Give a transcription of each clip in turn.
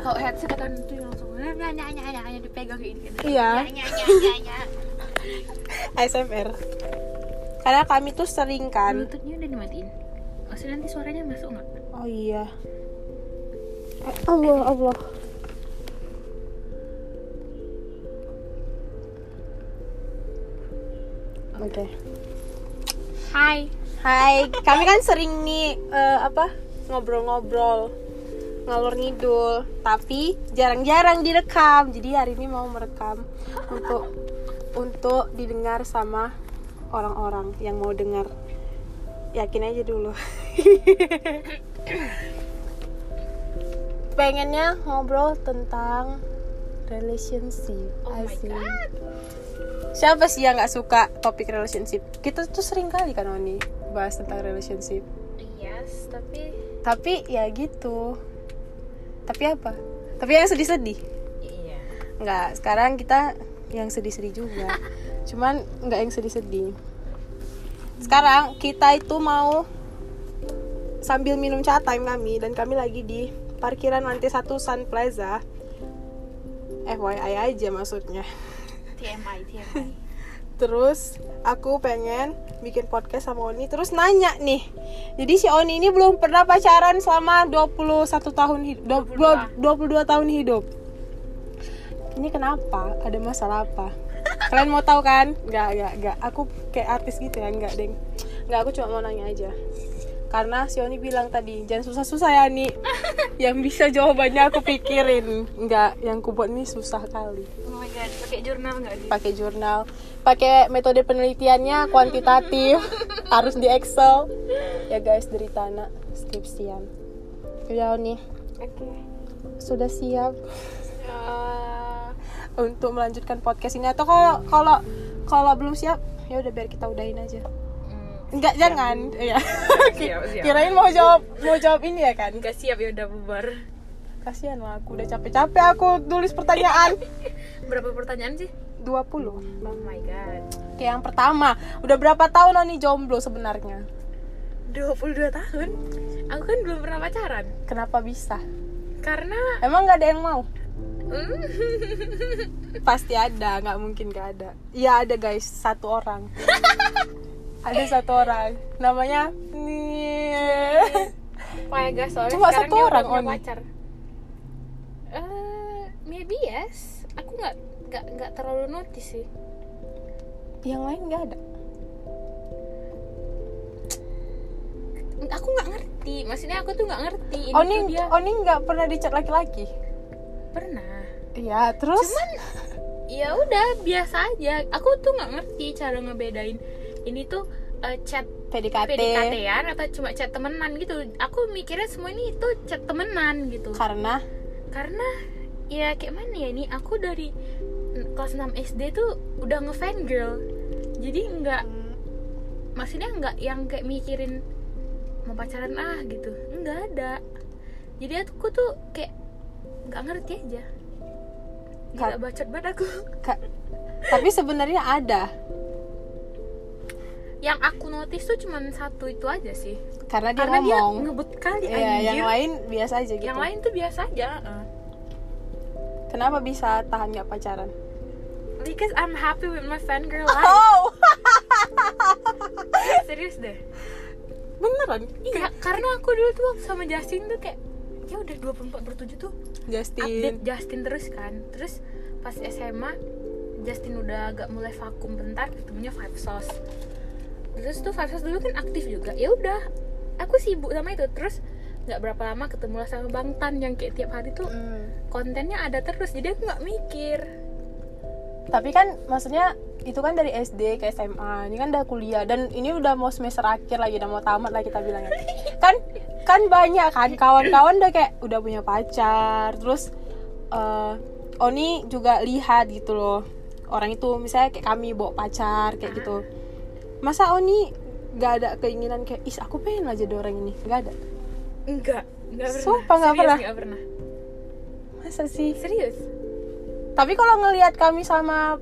Kalau headset kan itu yang langsung nanya nanya nanya dipegang kayak gini. Iya. Nanya nanya nanya. ASMR. Karena kami tuh sering kan. Bluetoothnya udah dimatiin. Maksudnya nanti suaranya masuk nggak? Oh iya. Eh, Allah Allah. Oke. Hai. Hai, kami kan sering nih eh, apa ngobrol-ngobrol ngalur ngidul, tapi jarang-jarang direkam. Jadi hari ini mau merekam untuk untuk didengar sama orang-orang yang mau dengar. Yakin aja dulu. Pengennya ngobrol tentang relationship. Oh my Asik. god. Siapa sih yang nggak suka topik relationship? Kita tuh sering kali kan Oni bahas tentang relationship. Yes, tapi Tapi ya gitu. Tapi apa? Tapi yang sedih-sedih. iya. Nggak, sekarang kita yang sedih-sedih juga. Cuman nggak yang sedih-sedih. Sekarang kita itu mau sambil minum chat time kami dan kami lagi di parkiran lantai satu Sun Plaza. FYI aja maksudnya. TMI TMI. Terus aku pengen bikin podcast sama Oni Terus nanya nih Jadi si Oni ini belum pernah pacaran selama 21 tahun hidup 22. 22 tahun hidup Ini kenapa? Ada masalah apa? Kalian mau tahu kan? Gak, gak, gak Aku kayak artis gitu ya, gak deng Gak, aku cuma mau nanya aja karena si Oni bilang tadi jangan susah-susah ya Ni yang bisa jawabannya aku pikirin nggak yang kubuat ini susah kali Oh my god, pakai jurnal nggak gitu? pakai jurnal pakai metode penelitiannya kuantitatif harus di Excel ya guys dari tanah skripsian ya nih Oke. sudah siap Ya. untuk melanjutkan podcast ini atau kalau kalau kalau belum siap ya udah biar kita udahin aja Hmm, enggak jangan ya Siap, siap. kirain mau jawab mau jawab ini ya kan Nggak siap ya udah bubar. kasihan lah aku udah capek-capek aku tulis pertanyaan Berapa pertanyaan sih? 20 Oh my god. Oke yang pertama Udah berapa tahun Oni jomblo sebenarnya? 22 tahun. Aku kan belum pernah pacaran. Kenapa bisa? Karena Emang nggak ada yang mau? Hmm. Pasti ada, nggak mungkin nggak ada. Iya ada guys, satu orang. ada satu orang, namanya Nih. Wah, guys, soalnya Cuma sekarang satu dia udah orang, punya Oni. pacar. Eh, maybe yes. Aku nggak nggak nggak terlalu notice sih. Yang lain nggak ada. Aku nggak ngerti. Maksudnya aku tuh nggak ngerti. Ini Oni tuh dia Oni nggak pernah dicat laki-laki. pernah. Iya, terus Ya udah biasa aja. Aku tuh nggak ngerti cara ngebedain ini tuh eh, chat PDKT. PDKT-an atau cuma chat temenan gitu. Aku mikirnya semua ini itu chat temenan gitu. Karena Karena ya kayak mana ya ini aku dari mm, kelas 6 SD tuh udah ngefan girl. Jadi nggak Hmm. maksudnya nggak yang kayak mikirin mau pacaran ah gitu nggak ada jadi aku tuh kayak nggak ngerti aja Kar- nggak bacot banget aku ka- tapi sebenarnya ada yang aku notice tuh cuman satu itu aja sih karena dia karena ngomong. dia ngebut kali Iya, anjir. yang lain biasa aja gitu. yang lain tuh biasa aja uh. Kenapa bisa tahan nggak pacaran? because I'm happy with my fangirl life Oh, serius deh beneran? iya karena aku dulu tuh waktu sama Justin tuh kayak ya udah 24 bertujuh tuh update Justin. Justin terus kan terus pas SMA Justin udah agak mulai vakum bentar ketemunya Five Sauce terus tuh Five Sauce dulu kan aktif juga ya udah aku sibuk sama itu terus nggak berapa lama ketemu lah sama Bang Tan yang kayak tiap hari tuh Hmm. kontennya ada terus jadi aku nggak mikir tapi kan maksudnya itu kan dari SD ke SMA ini kan udah kuliah dan ini udah mau semester akhir lagi udah mau tamat lah kita bilangnya kan kan banyak kan kawan-kawan udah kayak udah punya pacar terus eh, Oni juga lihat gitu loh orang itu misalnya kayak kami bawa pacar kayak gitu masa Oni gak ada keinginan kayak is aku pengen aja ada orang ini gak ada enggak enggak pernah Sumpah nggak Serius, pernah. nggak pernah masa sih serius Tapi kalau ngelihat kami sama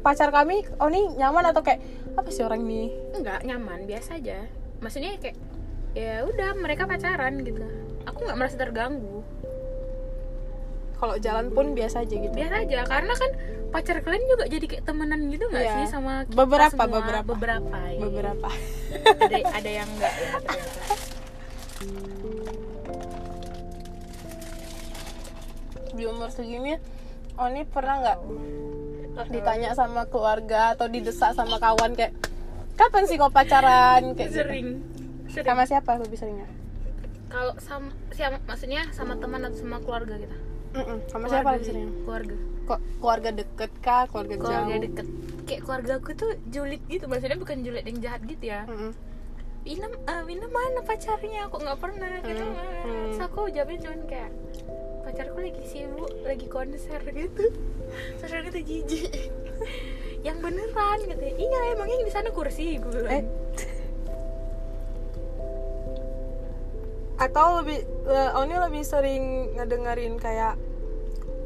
pacar kami, Oni nyaman atau kayak apa sih orang ini? enggak nyaman biasa aja maksudnya kayak ya udah mereka pacaran gitu aku nggak merasa terganggu Kalau jalan pun biasa aja gitu. biasa aja karena kan pacar kalian juga jadi kayak temenan gitu nggak Iya. sih sama kita Beberapa, semua? beberapa. beberapa ya. Beberapa. ada ada yang enggak ya, ternyata. Di umur segini Oni pernah nggak ditanya sama keluarga atau didesak sama kawan kayak kapan sih kok pacaran kayak gitu? sering sering sama siapa lebih seringnya? kalau sama siapa maksudnya sama teman atau sama keluarga kita Mm-mm, Sama Keluarga siapa lebih sih, seringnya? keluarga Kok keluarga deket kah? Keluarga jauh? keluarga deket kayak keluarga aku tuh julid gitu maksudnya bukan julid yang jahat gitu ya Mm-mm. Wina, eh, Wina mana pacarnya? Aku nggak pernah. Gitu. Hmm, hmm. Terus aku jawabnya cuman kayak pacarku lagi sibuk, lagi konser gitu. Terus orang itu jijik. yang beneran gitu. Iya, emangnya yang di sana kursi gue. bilang. Eh. Atau lebih le- Oni lebih sering ngedengerin kayak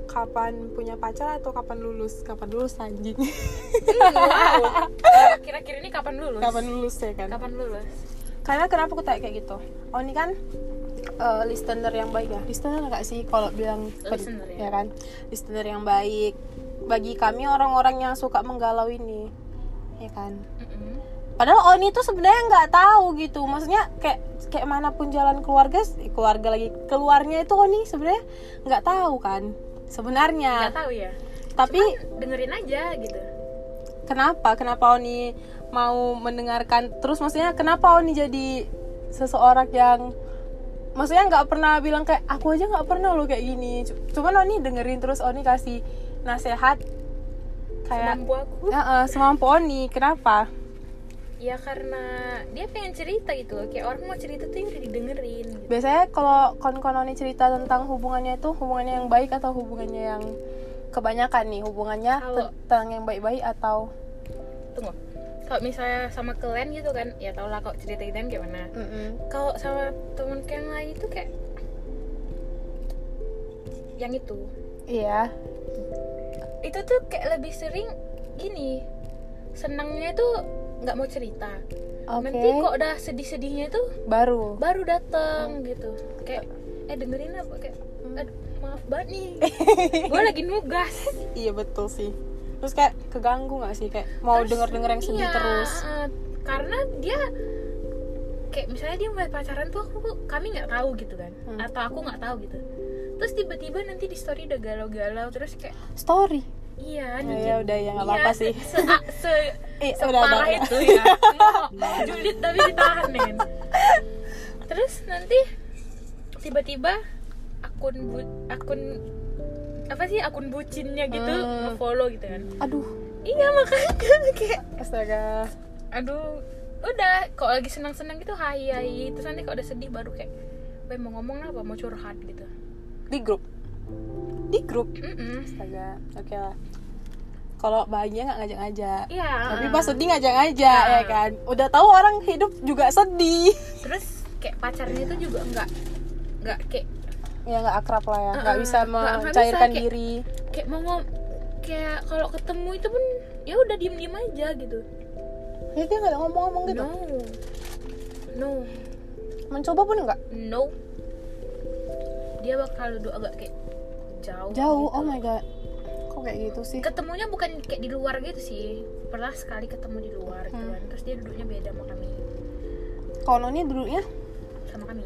kapan punya pacar atau kapan lulus? Kapan lulus anjing? wow. Iya. Kira-kira ini kapan lulus? kapan lulus ya kan? Kapan lulus? Karena kenapa aku tanya kayak gitu? Oni kan eh, listener yang baik ya. Listener gak sih kalau bilang per- Listener ya. ya kan? Listener yang baik. Bagi kami orang-orang yang suka menggalau ini. Ya kan? Mm-mm. Padahal Oni tuh sebenarnya nggak tahu gitu. Maksudnya kayak kayak manapun jalan keluarga, keluarga lagi keluarnya itu Oni sebenarnya nggak tahu kan. Nggak Sebenarnya. tahu ya. Tapi Dengerin aja gitu. kenapa? Kenapa Oni mau mendengarkan terus maksudnya kenapa Oni jadi seseorang yang maksudnya nggak pernah bilang kayak aku aja nggak pernah loh kayak gini. C- Cuman Oni dengerin terus Oni kasih nasehat kayak Semampu aku. "Ya, eh, semampu Oni. Kenapa? Ya karena dia pengen cerita gitu loh. Kayak orang mau cerita tuh udah didengerin gitu. biasanya kalau kon-kon Oni cerita tentang hubungannya itu hubungannya yang baik atau hubungannya yang kebanyakan nih hubungannya Kalau- tentang yang baik-baik atau tunggu kalau misalnya sama kalian gitu kan ya tau lah kalau cerita kita gimana kalau sama temen kalian lain itu kayak yang itu iya itu tuh kayak lebih sering gini senangnya tuh nggak mau cerita oke nanti kok udah sedih-sedihnya tuh baru baru dateng gitu kayak eh dengerin apa kayak aduh maaf banget nih gue lagi nugas iya betul sih terus kayak keganggu nggak sih kayak mau Terus, denger-denger yang sedih iya, terus eh, karena dia kayak misalnya dia mulai pacaran tuh aku kami nggak tahu gitu kan Hmm. atau aku nggak tahu gitu terus tiba-tiba nanti di story udah galau-galau terus kayak story iya ya, nih ya udah ya nggak apa-apa sih se, a- se- eh, udah separah ada itu ya Mau- mau julid tapi ditahan ya kan terus nanti tiba-tiba akun bu- akun apa sih akun bucinnya gitu Hmm. follow gitu kan aduh iya makanya kayak astaga aduh udah kok lagi senang senang gitu hai hai terus nanti kalau udah sedih baru kayak gue mau ngomong apa mau curhat gitu di grup di grup Mm-mm. astaga oke lah kalau bahagia nggak ngajak-ngajak iya Tapi uh. pas sedih ngajak-ngajak Ah. ya kan. Udah tahu orang hidup juga sedih. terus kayak pacarnya itu juga enggak enggak kayak Ya nggak akrab lah ya. Nggak Heeh. bisa Nggak- nggak bisa, mencairkan kayak- diri. kayak mau ngom kayak kalau ketemu itu pun ya udah diem diem aja gitu Ya dia nggak ada ngomong-ngomong gitu. no no Mencoba pun nggak. no dia bakal duduk agak kayak jauh Jauh. gitu. Oh my god. Kok kayak gitu sih? ketemunya bukan kayak di luar gitu sih pernah sekali ketemu di luar gitu Hmm. kan terus dia duduknya beda sama kami Kalau ini dulunya sama kami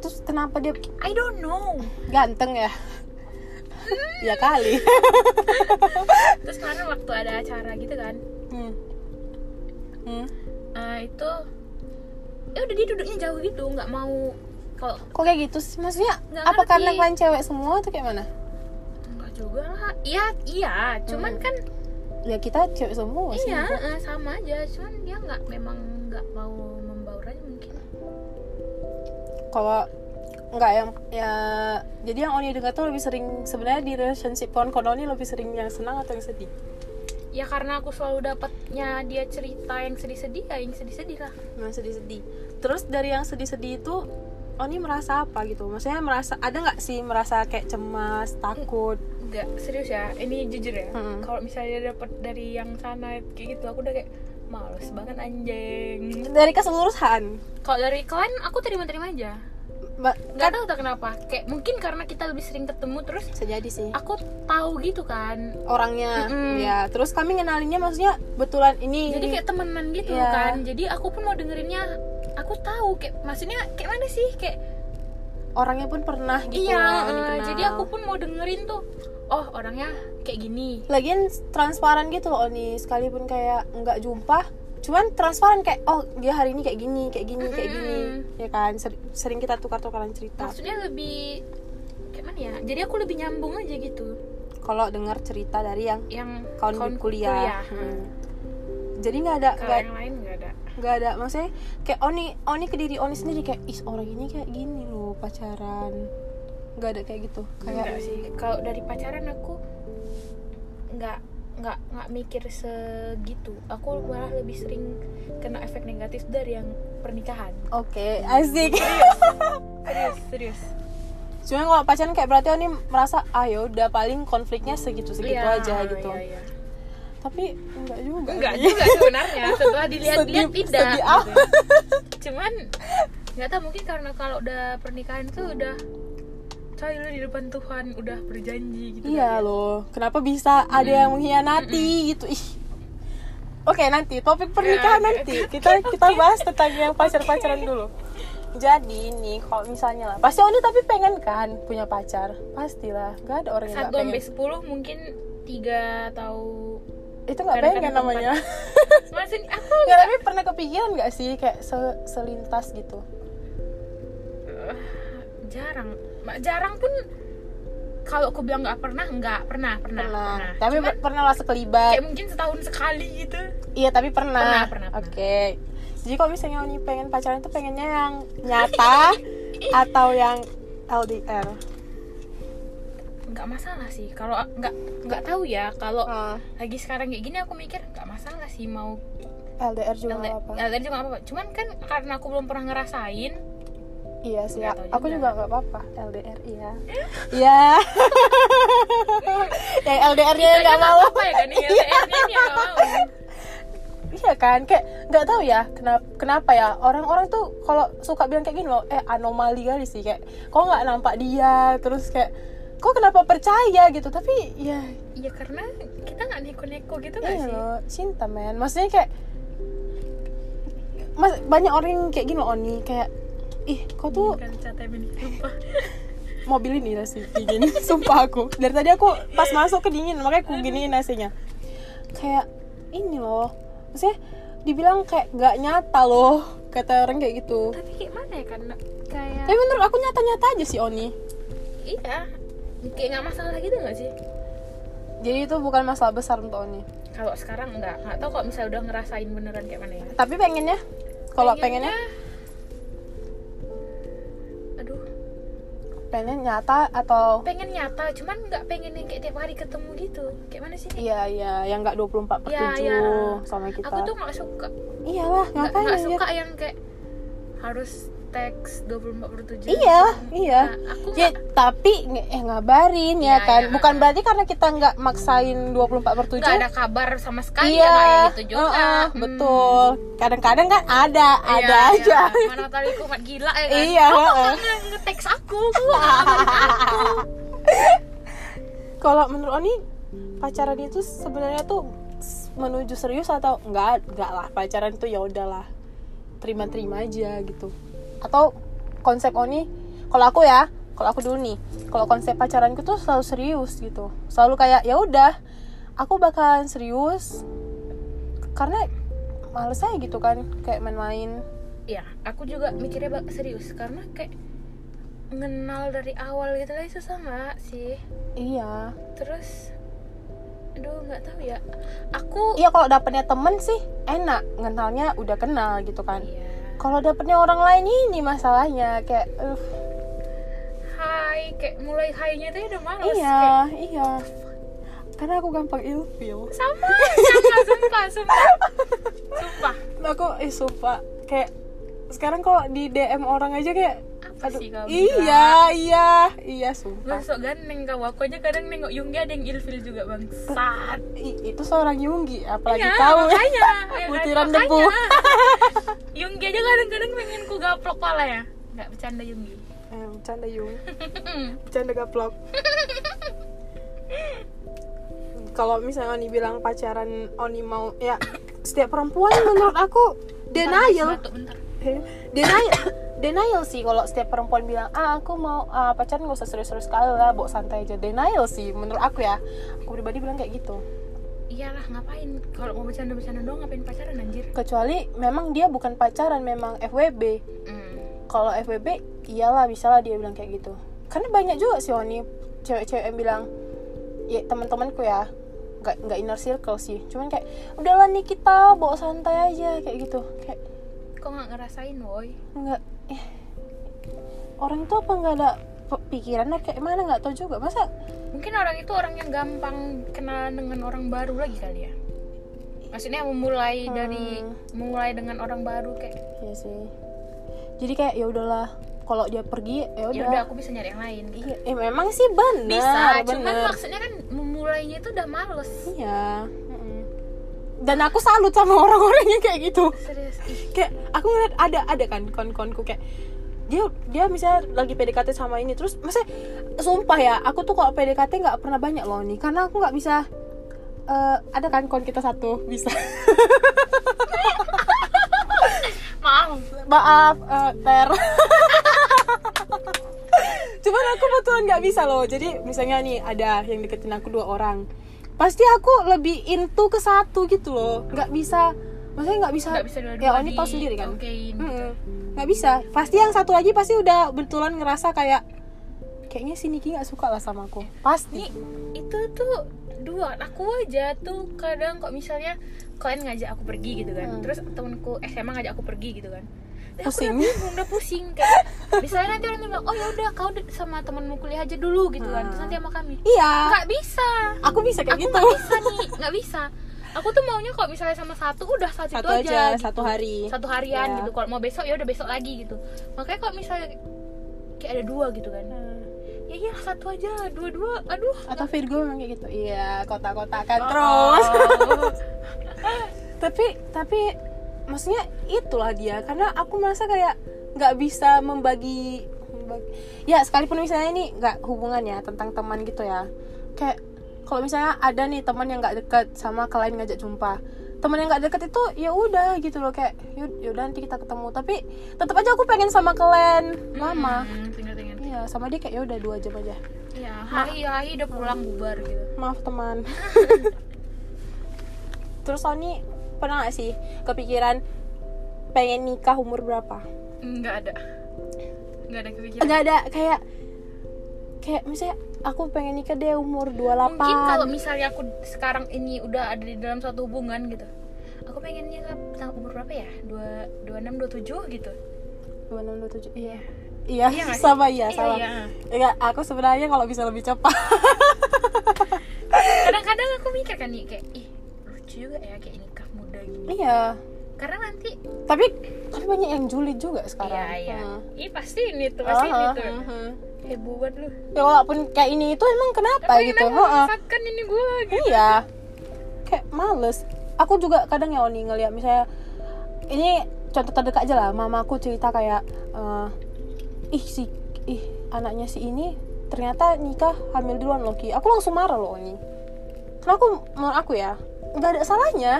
terus kenapa dia I don't know. ganteng ya? ya kali. Terus kemarin waktu ada acara gitu kan, Hmm. Hmm. eh, itu ya udah dia duduknya jauh gitu, nggak mau kalau Kok kayak gitu sih? Maksudnya Nggak apa ngerti. karena kalian cewek semua atau kayak mana? nggak juga lah. Iya iya, cuman Hmm. kan Ya kita cewek semua sih. iya eh, sama aja, cuman dia nggak memang nggak mau membaur aja mungkin. kalau nggak yang ya jadi yang Oni dengar tuh lebih sering sebenarnya di relationship kon Oni lebih sering yang senang atau yang sedih Ya karena aku selalu dapatnya dia cerita yang sedih-sedih, ya yang sedih-sedih lah. yang sedih-sedih terus dari yang sedih-sedih itu Oni merasa apa gitu maksudnya merasa ada nggak sih merasa kayak cemas takut Enggak serius ya, ini jujur ya. Mm-mm. Kalau misalnya dapat dari yang sana kayak gitu, aku udah kayak males banget anjing dari keseluruhan kalau dari kalian aku terima-terima aja Ba- nggak kan tahu tak kenapa kayak mungkin karena kita lebih sering ketemu terus bisa jadi sih aku tahu gitu kan orangnya Mm-mm. ya terus kami ngenalinnya maksudnya betulan ini jadi kayak temenan gitu Iya. kan jadi aku pun mau dengerinnya aku tahu kayak maksudnya kayak mana sih kayak orangnya pun pernah gitu iya loh, eh, dikenal. jadi aku pun mau dengerin tuh oh orangnya kayak gini lagian transparan gitu loh Oni sekalipun kayak nggak jumpa cuman transparan kayak oh dia hari ini kayak gini kayak gini kayak gini Mm-mm. ya kan Ser- sering kita tukar-tukaran cerita maksudnya lebih kayak mana ya jadi aku lebih nyambung aja gitu kalau dengar cerita dari yang yang kawan kawan kuliah, Hmm. jadi nggak ada kalau nggak yang lain nggak ada nggak ada maksudnya kayak Oni Oni ke diri Oni sendiri kayak is orang ini kayak gini loh pacaran nggak ada kayak gitu Enggak kayak sih kalau dari pacaran aku nggak nggak nggak mikir segitu aku malah lebih sering kena efek negatif dari yang pernikahan oke asik serius serius cuman kalau pacaran kayak berarti Oni merasa ayo udah paling konfliknya segitu segitu Iya, aja gitu iya, iya. tapi enggak juga enggak juga sebenarnya setelah dilihat-lihat Sedih- tidak sedih amat. gitu. cuman nggak tahu mungkin karena kalau udah pernikahan tuh udah coy lu di depan Tuhan udah berjanji gitu iya loh kenapa bisa ada yang mengkhianati gitu ih oke nanti topik pernikahan Ya, oke. nanti kita kita bahas tentang yang pacar pacaran dulu jadi nih kalau misalnya lah pasti Oni tapi pengen kan punya pacar pastilah nggak ada orang yang satu nggak pengen sampai sepuluh mungkin tiga atau itu nggak kadang-kadang pengen empat. namanya masih aku nggak tapi pernah kepikiran nggak sih kayak se- selintas gitu Eh, jarang Mbak, jarang pun kalau aku bilang nggak pernah nggak pernah pernah, pernah pernah. tapi Cuman, per- pernah lah sekelibat kayak mungkin setahun sekali gitu Iya tapi pernah. Pernah, pernah, pernah. Oke. Jadi kalau misalnya Oni pengen pacaran tuh pengennya yang nyata atau yang LDR. nggak masalah sih kalau nggak nggak tahu ya kalau Ah, lagi sekarang kayak gini aku mikir nggak masalah sih mau LDR juga nggak LDR apa. LDR juga nggak apa-apa cuman kan karena aku belum pernah ngerasain Ya, Iya sih. Nggak tahu Aku juga. juga nggak apa-apa. LDR iya. Iya. Ya, yang LDR-nya kayaknya nggak mau. apa ya kan ini LDR-nya ini yang nggak mau Iya kan, kayak nggak tahu ya kenapa kenapa ya orang-orang tuh kalau suka bilang kayak gini loh, eh anomali kali sih kayak kok nggak nampak dia terus kayak kok kenapa percaya gitu tapi ya ya karena kita nggak neko-neko gitu nggak Iya sih loh, cinta men. Maksudnya kayak Mas, banyak orang yang kayak gini loh Oni kayak ih kok tuh kan catnya ini lupa mobil ini nasi dingin sumpah aku dari tadi aku pas masuk kedingin makanya aku giniin nasinya kayak ini loh maksudnya dibilang kayak gak nyata loh kata orang kayak gitu tapi kayak mana ya kan kayak tapi menurut aku nyata-nyata aja sih Oni iya kayak nggak masalah gitu nggak sih jadi itu bukan masalah besar untuk Oni kalau sekarang nggak nggak tahu kalau misalnya udah ngerasain beneran kayak mana ya tapi pengennya kalau pengennya aduh pengen nyata atau pengen nyata cuman nggak pengen yang kayak tiap hari ketemu gitu kayak mana sih iya iya yang gak 24 per 7 Iya, iya. sama kita aku tuh nggak suka Iyalah, nggak ngapain nggak anjir? suka yang kayak harus teks 24 per 7 Iya, iya. Nah, aku Ya, nggak- tapi nge- eh ngabarin ya, Iya, kan. iya, Bukan iya. berarti karena kita nggak maksain 24 per 7. nggak ada kabar sama sekali iya, ya kayak gitu juga heeh, Hmm. betul. Kadang-kadang kan ada, Iya, ada iya. aja. mana tahu aku mat gila ya kan Iya, heeh. Nggak nge-teks aku aku nggak ngabarin aku Kalau menurut Oni pacaran itu sebenarnya tuh s- menuju serius atau enggak? Enggak lah, pacaran tuh ya udahlah. Terima-terima aja gitu. Atau konsep Oni kalau aku ya, kalau aku dulu nih, kalau konsep pacaranku tuh selalu serius gitu. Selalu kayak ya udah, aku bakalan serius karena males aja gitu kan kayak main-main ya aku juga mikirnya bak- serius karena kayak ngenal dari awal gitu lah susah nggak sih iya terus aduh nggak tahu ya aku iya kalau dapetnya temen sih enak kenalnya udah kenal gitu kan Iya. kalau dapetnya orang lain ini masalahnya kayak uh, hai kayak mulai high-nya tuh udah males kayak, iya iya karena aku gampang ilfil sama sama sumpah sumpah sumpah aku eh sumpah kayak sekarang kalau di DM orang aja kayak apa Pasti kau iya iya iya Lu sumpah sok gandeng kau Aku aja kadang nengok Yunggi ada yang ilfil juga bang Sat I- itu seorang Yunggi apalagi Iya, kau makanya Ya kan, Butiran makanya. debu. Yunggi aja kadang-kadang pengen ku gaplok pala ya Nggak bercanda Yunggi eh, bercanda Yung Hmm. bercanda gaplok kalau misalnya Oni bilang pacaran Oni mau ya setiap perempuan menurut aku denial Batuk bentar denial denial sih kalau setiap perempuan bilang ah aku mau ah, pacaran gak usah serius-serius sekali lah bawa santai aja denial sih menurut aku ya aku pribadi bilang kayak gitu Iyalah ngapain Kalau mau bercanda-bercanda doang ngapain pacaran anjir kecuali memang dia bukan pacaran memang FWB Hmm. kalau FWB iyalah bisalah dia bilang kayak gitu karena banyak juga sih Oni cewek-cewek yang bilang ya teman-temanku ya nggak nggak inner circle sih cuman kayak udahlah nih kita bawa santai aja kayak gitu kayak Kok nggak ngerasain woi nggak eh, orang itu apa nggak ada pe- pikirannya kayak mana nggak tahu juga masa Mungkin orang itu orang yang gampang kenalan dengan orang baru lagi kali ya. Maksudnya memulai Hmm. dari memulai dengan orang baru kayak ya sih jadi kayak ya udahlah kalau dia pergi ya ya udah udah aku bisa nyari yang lain gitu. Iya, eh memang sih benar Bisa, cuman benar. maksudnya kan memulainya itu udah males. iya mm-mm. dan aku salut sama orang-orang yang kayak gitu Serius. Ih, kayak aku ngeliat ada ada kan kon-konku kayak dia dia misalnya lagi PDKT sama ini terus masa sumpah ya aku tuh kalau PDKT nggak pernah banyak loh nih karena aku nggak bisa eh, ada kan kon kita satu bisa Maaf. maaf eh, ter cuman aku betulan nggak bisa loh jadi misalnya nih ada yang deketin aku dua orang pasti aku lebih into ke satu gitu loh nggak bisa maksudnya nggak bisa Enggak bisa dua-dua. ya Oni di- tahu sendiri kan Okein. Mm-mm. nggak bisa pasti yang satu lagi pasti udah betulan ngerasa kayak kayaknya si Niki nggak suka lah sama aku Ini pasti itu tuh dua aku aja tuh kadang kok misalnya kalian ngajak aku pergi gitu kan Hmm. terus temanku SMA ngajak aku pergi gitu kan Dan aku Pusing. udah bingung udah pusing kayak misalnya nanti orang bilang oh ya udah kau de- sama temanmu kuliah aja dulu gitu kan terus nanti sama kami iya nggak bisa aku bisa kayak aku gitu nggak bisa nih nggak bisa aku tuh maunya kalau misalnya sama satu udah satu, satu itu aja, aja gitu. satu hari satu harian Iya. gitu kalau mau besok ya udah besok lagi gitu makanya kalau misalnya kayak ada dua gitu kan ya iya satu aja dua-dua aduh atau Virgo memang kayak gitu iya kotak-kotakan Oh. terus tapi tapi maksudnya itulah dia karena aku merasa kayak nggak bisa membagi, membagi- ya sekalipun misalnya ini nggak hubungannya tentang teman gitu ya kayak kalau misalnya ada nih teman yang nggak dekat sama kalian ngajak jumpa teman yang nggak deket itu ya udah gitu loh kayak "Yud- yaudah nanti kita ketemu tapi tetap aja aku pengen sama kalian mama Hmm, ngerti, ngerti, ngerti. iya sama dia kayak ya udah dua jam aja Iya, hari hari udah pulang bubar gitu. maaf teman terus Sony pernah gak sih kepikiran pengen nikah umur berapa Enggak ada. Enggak ada kepikiran. nggak ada kayak kayak misalnya aku pengen nikah deh umur 28 Mungkin kalau misalnya aku sekarang ini udah ada di dalam suatu hubungan gitu. Aku pengennya tentang umur berapa ya? 2 26 27 gitu. 26 27 iya iya, Iya nggak sih? sama iya Iya, sama iya. Enggak, aku sebenarnya kalau bisa lebih cepat Kadang-kadang aku mikir kan nih kayak ih lucu juga ya kayak nikah muda gini. iya Karena nanti tapi kan banyak yang julid juga iya sekarang iya. Hmm. Ih pasti ini tuh, pasti gitu. ini Ah, tuh. ah, ah. Heboh banget lu. ya walaupun kayak ini itu emang kenapa Tapi gitu kenapa Ah, ah. memaksakan ini gue gitu. iya kayak males aku juga kadang ya Oni ngeliat misalnya ini contoh terdekat aja lah mamaku cerita kayak eh, ih si ih anaknya si ini ternyata nikah hamil duluan loh Ki aku langsung marah loh Oni karena aku menurut aku ya nggak ada salahnya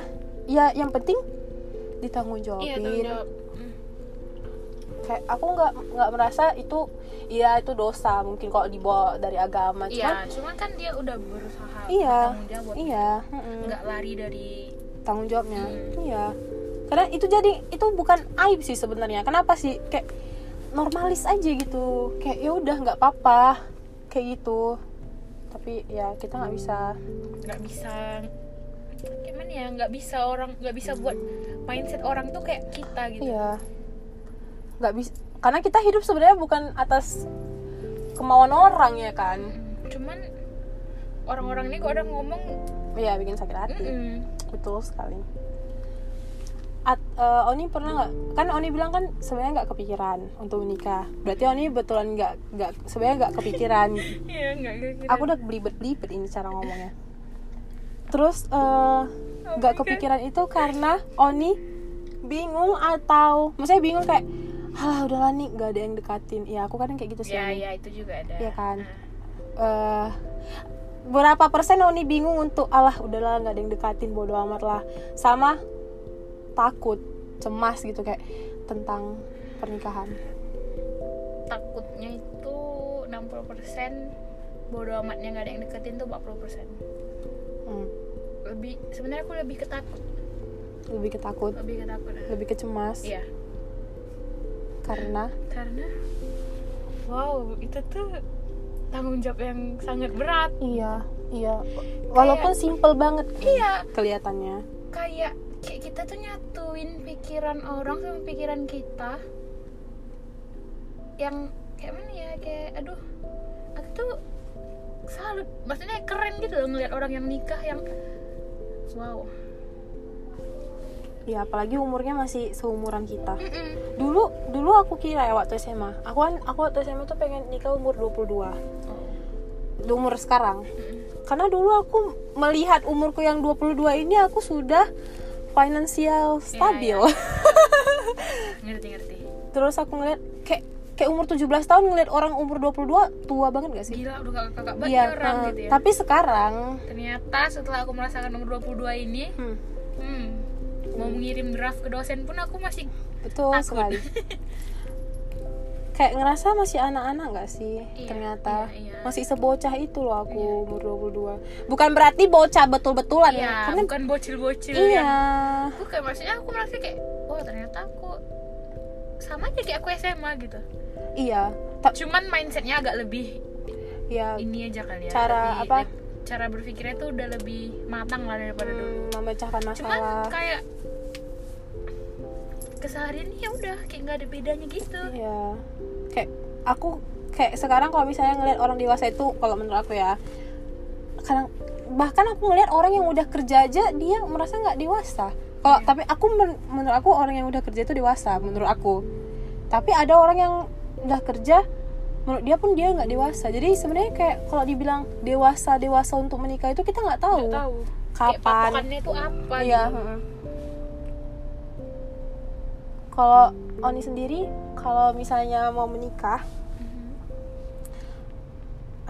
ya yang penting ditanggung Iya, jawabin tanggung jawab. Hmm. kayak aku nggak nggak merasa itu ya itu dosa mungkin kalau dibawa dari agama cuman Iya, cuman kan dia udah berusaha Iya, bertanggung jawab. iya mm-mm. Nggak lari dari tanggung jawabnya Hmm. iya karena itu jadi itu bukan aib sih sebenarnya kenapa sih kayak normalis aja gitu kayak ya udah nggak apa-apa kayak gitu tapi ya kita nggak bisa nggak bisa gimana ya nggak bisa orang nggak bisa buat mindset orang tuh kayak kita gitu iya nggak bisa karena kita hidup sebenarnya bukan atas kemauan orang ya kan Mm, cuman orang-orang ini kok udah ngomong Hmm. iya bikin sakit hati mm betul sekali At, eh, Oni pernah nggak kan Oni bilang kan sebenarnya nggak kepikiran untuk menikah berarti Oni betulan nggak nggak sebenarnya nggak kepikiran Iya, enggak kepikiran. aku udah belibet belibet ini cara ngomongnya terus eh, Oh nggak my God. kepikiran itu karena Oni bingung atau maksudnya bingung kayak halah udahlah nih nggak ada yang dekatin ya aku kadang kayak gitu sih ya Oni. ya itu juga ada. Iya kan? Ah. eh berapa persen Oni bingung untuk alah udahlah nggak ada yang dekatin bodo amat lah sama takut cemas gitu kayak tentang pernikahan takutnya itu 60% bodo amatnya nggak ada yang deketin tuh 40% Hmm, lebih sebenarnya aku lebih ketakut lebih ketakut lebih ketakut lebih kecemas iya karena karena wow itu tuh tanggung jawab yang sangat berat iya iya walaupun simple banget iya kelihatannya kayak kayak kita tuh nyatuin pikiran orang sama pikiran kita yang kayak mana ya kayak aduh aku tuh salut maksudnya keren gitu loh ngeliat orang yang nikah yang wow ya apalagi umurnya masih seumuran kita Mm-mm. dulu dulu aku kira ya waktu SMA aku kan aku waktu SMA tuh pengen nikah umur 22 Oh. Di umur sekarang karena dulu aku melihat umurku yang 22 ini aku sudah Iya, finansial stabil ngerti ngerti terus aku ngeliat kayak kayak umur 17 tahun ngeliat orang umur 22 tua banget gak sih gila udah kakak kakak banget Iya, orang eh, gitu ya tapi sekarang ternyata setelah aku merasakan umur 22 ini hmm, hmm, mau mengirim draft ke dosen pun aku masih betul Takut. sekali kayak ngerasa masih anak-anak gak sih Iya, ternyata iya, iya. masih sebocah itu loh aku umur 22 bukan berarti bocah betul-betulan ya ya karena bukan bocil-bocil iya yang aku kayak maksudnya aku merasa kayak oh ternyata aku sama aja kayak aku SMA gitu iya Ta- cuman mindsetnya agak lebih iya ini aja kali ya Cara lebih- apa? le- cara berpikirnya tuh udah lebih matang lah daripada dulu hmm, memecahkan cuman masalah kayak keseharian ya udah kayak nggak ada bedanya gitu Iya. Kayak aku kayak sekarang kalau misalnya ngelihat orang dewasa itu kalau menurut aku ya kadang bahkan aku ngelihat orang yang udah kerja aja dia merasa nggak dewasa. Iya. Kalau tapi aku men- menurut aku orang yang udah kerja itu dewasa menurut aku. Tapi ada orang yang udah kerja menurut dia pun dia nggak dewasa. Jadi sebenarnya kayak kalau dibilang dewasa dewasa untuk menikah itu kita nggak tahu. nggak tahu kayak Oh, Kapan? patokannya tuh apa Iya. gitu. heeh. Kalau Oni sendiri, kalau misalnya mau menikah Mhm.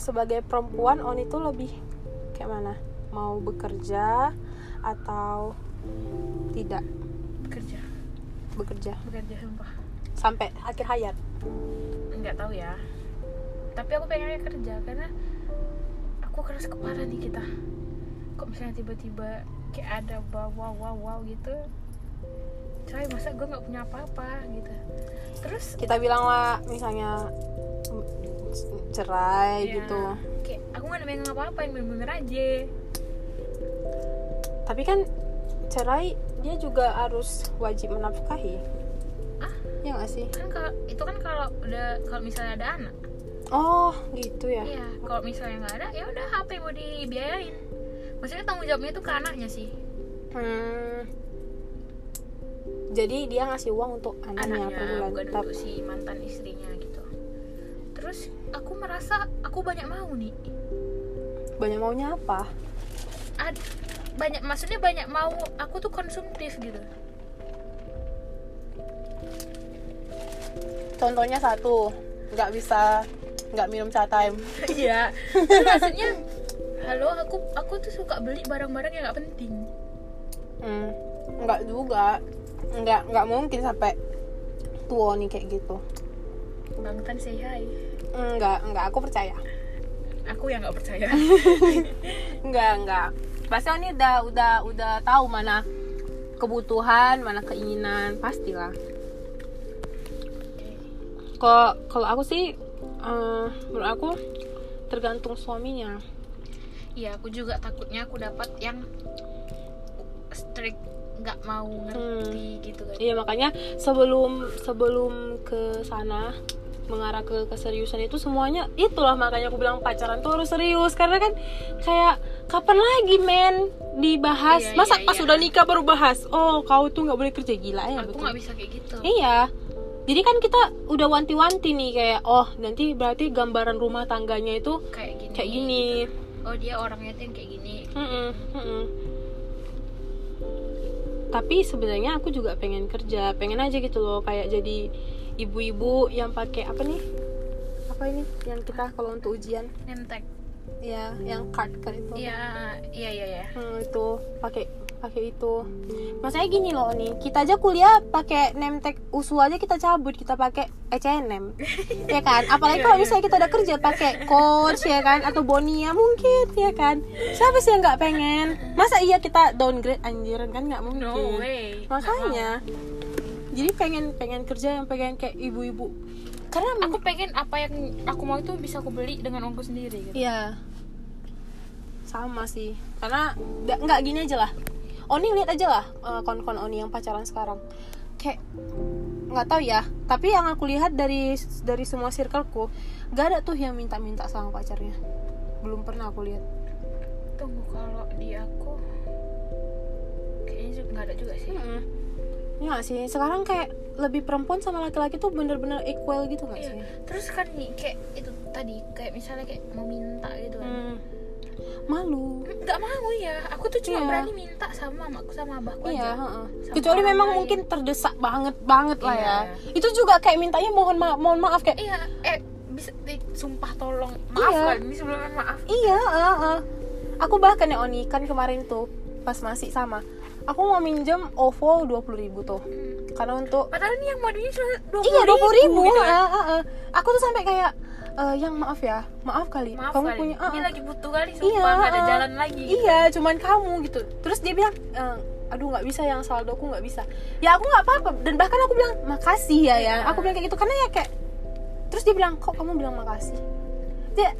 sebagai perempuan, Oni tuh lebih kayak mana? Mau bekerja atau tidak bekerja bekerja bekerja sumpah sampai akhir hayat? nggak tahu ya tapi aku pengennya kerja karena aku keras kepala nih kita kok misalnya tiba-tiba kayak ada wow wow wow, wow gitu coy masa gue nggak punya apa-apa gitu terus Kita bilang lah misalnya mm, cerai ya, gitu. kayak aku nggak ada megang apa-apa yang bener-bener aja Tapi kan cerai dia juga harus wajib menafkahi. Ah. Ya nggak sih? kan kalau itu kan kalau udah kalau misalnya ada anak Oh, gitu ya. iya kalau misalnya nggak ada ya udah apa yang mau dibiayain maksudnya tanggung jawabnya itu ke anaknya sih Hmm. Jadi dia ngasih uang untuk anaknya, per anaknya bulan. bukan untuk Tapi si mantan istrinya gitu terus aku merasa aku banyak mau nih banyak maunya apa? Ad- banyak maksudnya banyak mau aku tuh konsumtif gitu Contohnya satu, nggak bisa nggak minum chat time. iya Terus maksudnya halo aku aku tuh suka beli barang-barang yang gak penting Hmm. Nggak juga. Nggak nggak mungkin sampai tua nih kayak gitu. bangtan say hi Nggak nggak aku percaya. aku yang gak percaya Nggak nggak. Pasti ini udah udah udah tahu mana kebutuhan, mana keinginan, pastilah. Kalau kalau aku sih, eh, menurut aku tergantung suaminya. iya aku juga takutnya aku dapat yang strict nggak mau Hmm. ngerti gitu kan Iya makanya sebelum sebelum ke sana mengarah ke keseriusan itu semuanya itulah makanya aku bilang pacaran tuh harus serius karena kan kayak kapan lagi men dibahas Iya, masa iya, pas iya. udah nikah baru bahas oh kau tuh nggak boleh kerja gila ya aku betul nggak bisa kayak gitu Iya. Jadi kan kita udah wanti-wanti nih kayak oh nanti berarti gambaran rumah tangganya itu kayak gini kayak gini. oh dia orangnya tuh yang kayak gini Mm-mm, mm-mm. Tapi sebenarnya aku juga pengen kerja, pengen aja gitu loh kayak jadi ibu-ibu yang pakai apa nih? Apa ini yang kita kalau untuk ujian? nemtek Ya, yang card card itu. iya iya iya ya. Hmm, itu pakai pakai itu. Maksudnya gini loh nih, kita aja kuliah pakai name tag USU aja kita cabut, kita pakai ECNM. ya kan? Iya, Apalagi kalau misalnya kita udah kerja pakai coach ya kan atau Bonia mungkin ya kan. Siapa sih yang nggak pengen? Masa iya kita downgrade anjir kan nggak mungkin. no way Makanya jadi pengen pengen kerja yang pengen kayak ibu-ibu. Karena aku pengen apa yang aku mau itu bisa aku beli dengan uangku sendiri gitu. Iya. Sama sih. Karena nggak nggak gini aja lah. Oni lihat aja lah eh, kon-kon Oni yang pacaran sekarang. Kayak nggak tahu ya. Tapi yang aku lihat dari dari semua circleku, gak ada tuh yang minta-minta sama pacarnya. Belum pernah aku lihat. Tunggu kalau di aku kayaknya juga nggak ada juga sih. Heeh. Iya Nggak sih. Sekarang kayak lebih perempuan sama laki-laki tuh bener-bener equal gitu nggak Iya. sih? Terus kan nih kayak itu tadi kayak misalnya kayak mau minta gitu kan. Hmm. Malu. Nggak mau ya. Aku tuh cuma Hmm. Iya. berani minta sama mamaku sama abahku Iya, aja. heeh. Sama kecuali orang memang lain. mungkin terdesak banget banget lah Iya. ya. Itu juga kayak mintanya mohon maaf, mohon maaf kayak Iya, eh bisa eh, sumpah tolong maaf Iya. kan ini sebelumnya maaf. Iya, ah, ah. aku bahkan ya Oni kan kemarin tuh pas masih sama, aku mau minjem OVO 20.000 ribu tuh, Hmm. karena untuk Padahal ini yang modelnya cuma dua iya 20.000 ribu. gitu kan. ya? ah, ah, ah. Aku tuh sampai kayak "Eh, yang maaf ya, maaf kali, Maaf kamu kali. punya, ah, ini ah." lagi butuh kali sumpah Iya, nggak ada ah. jalan lagi. iya, cuman kamu gitu. Terus dia bilang, "Eh, aduh nggak bisa yang saldoku nggak bisa. Ya aku nggak apa-apa dan bahkan aku bilang makasih ya ya. Iya. Aku bilang kayak gitu karena ya kayak. Terus dia bilang kok kamu bilang makasih. Dia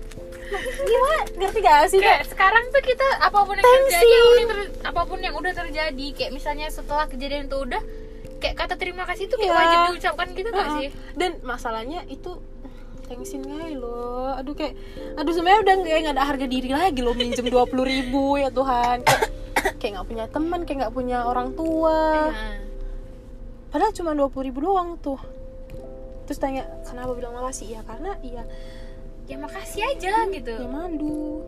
gimana ngerti gak sih kayak sekarang tuh kita apapun yang Thanks, terjadi Sin. apapun yang, ter- apapun yang udah terjadi kayak misalnya setelah kejadian itu udah kayak kata terima kasih itu kayak Iya. wajib diucapkan gitu nggak Heeh. sih Dan masalahnya itu tensin kali loh. Aduh kayak aduh sebenarnya udah kayak nggak ada harga diri lagi loh minjem 20.000 ribu ya Tuhan. Kayak kayak nggak punya teman, kayak nggak punya orang tua. Nah, Padahal cuma 20.000 ribu doang tuh. Terus tanya kenapa bilang makasih ya karena iya ya makasih aja gitu ya mandu.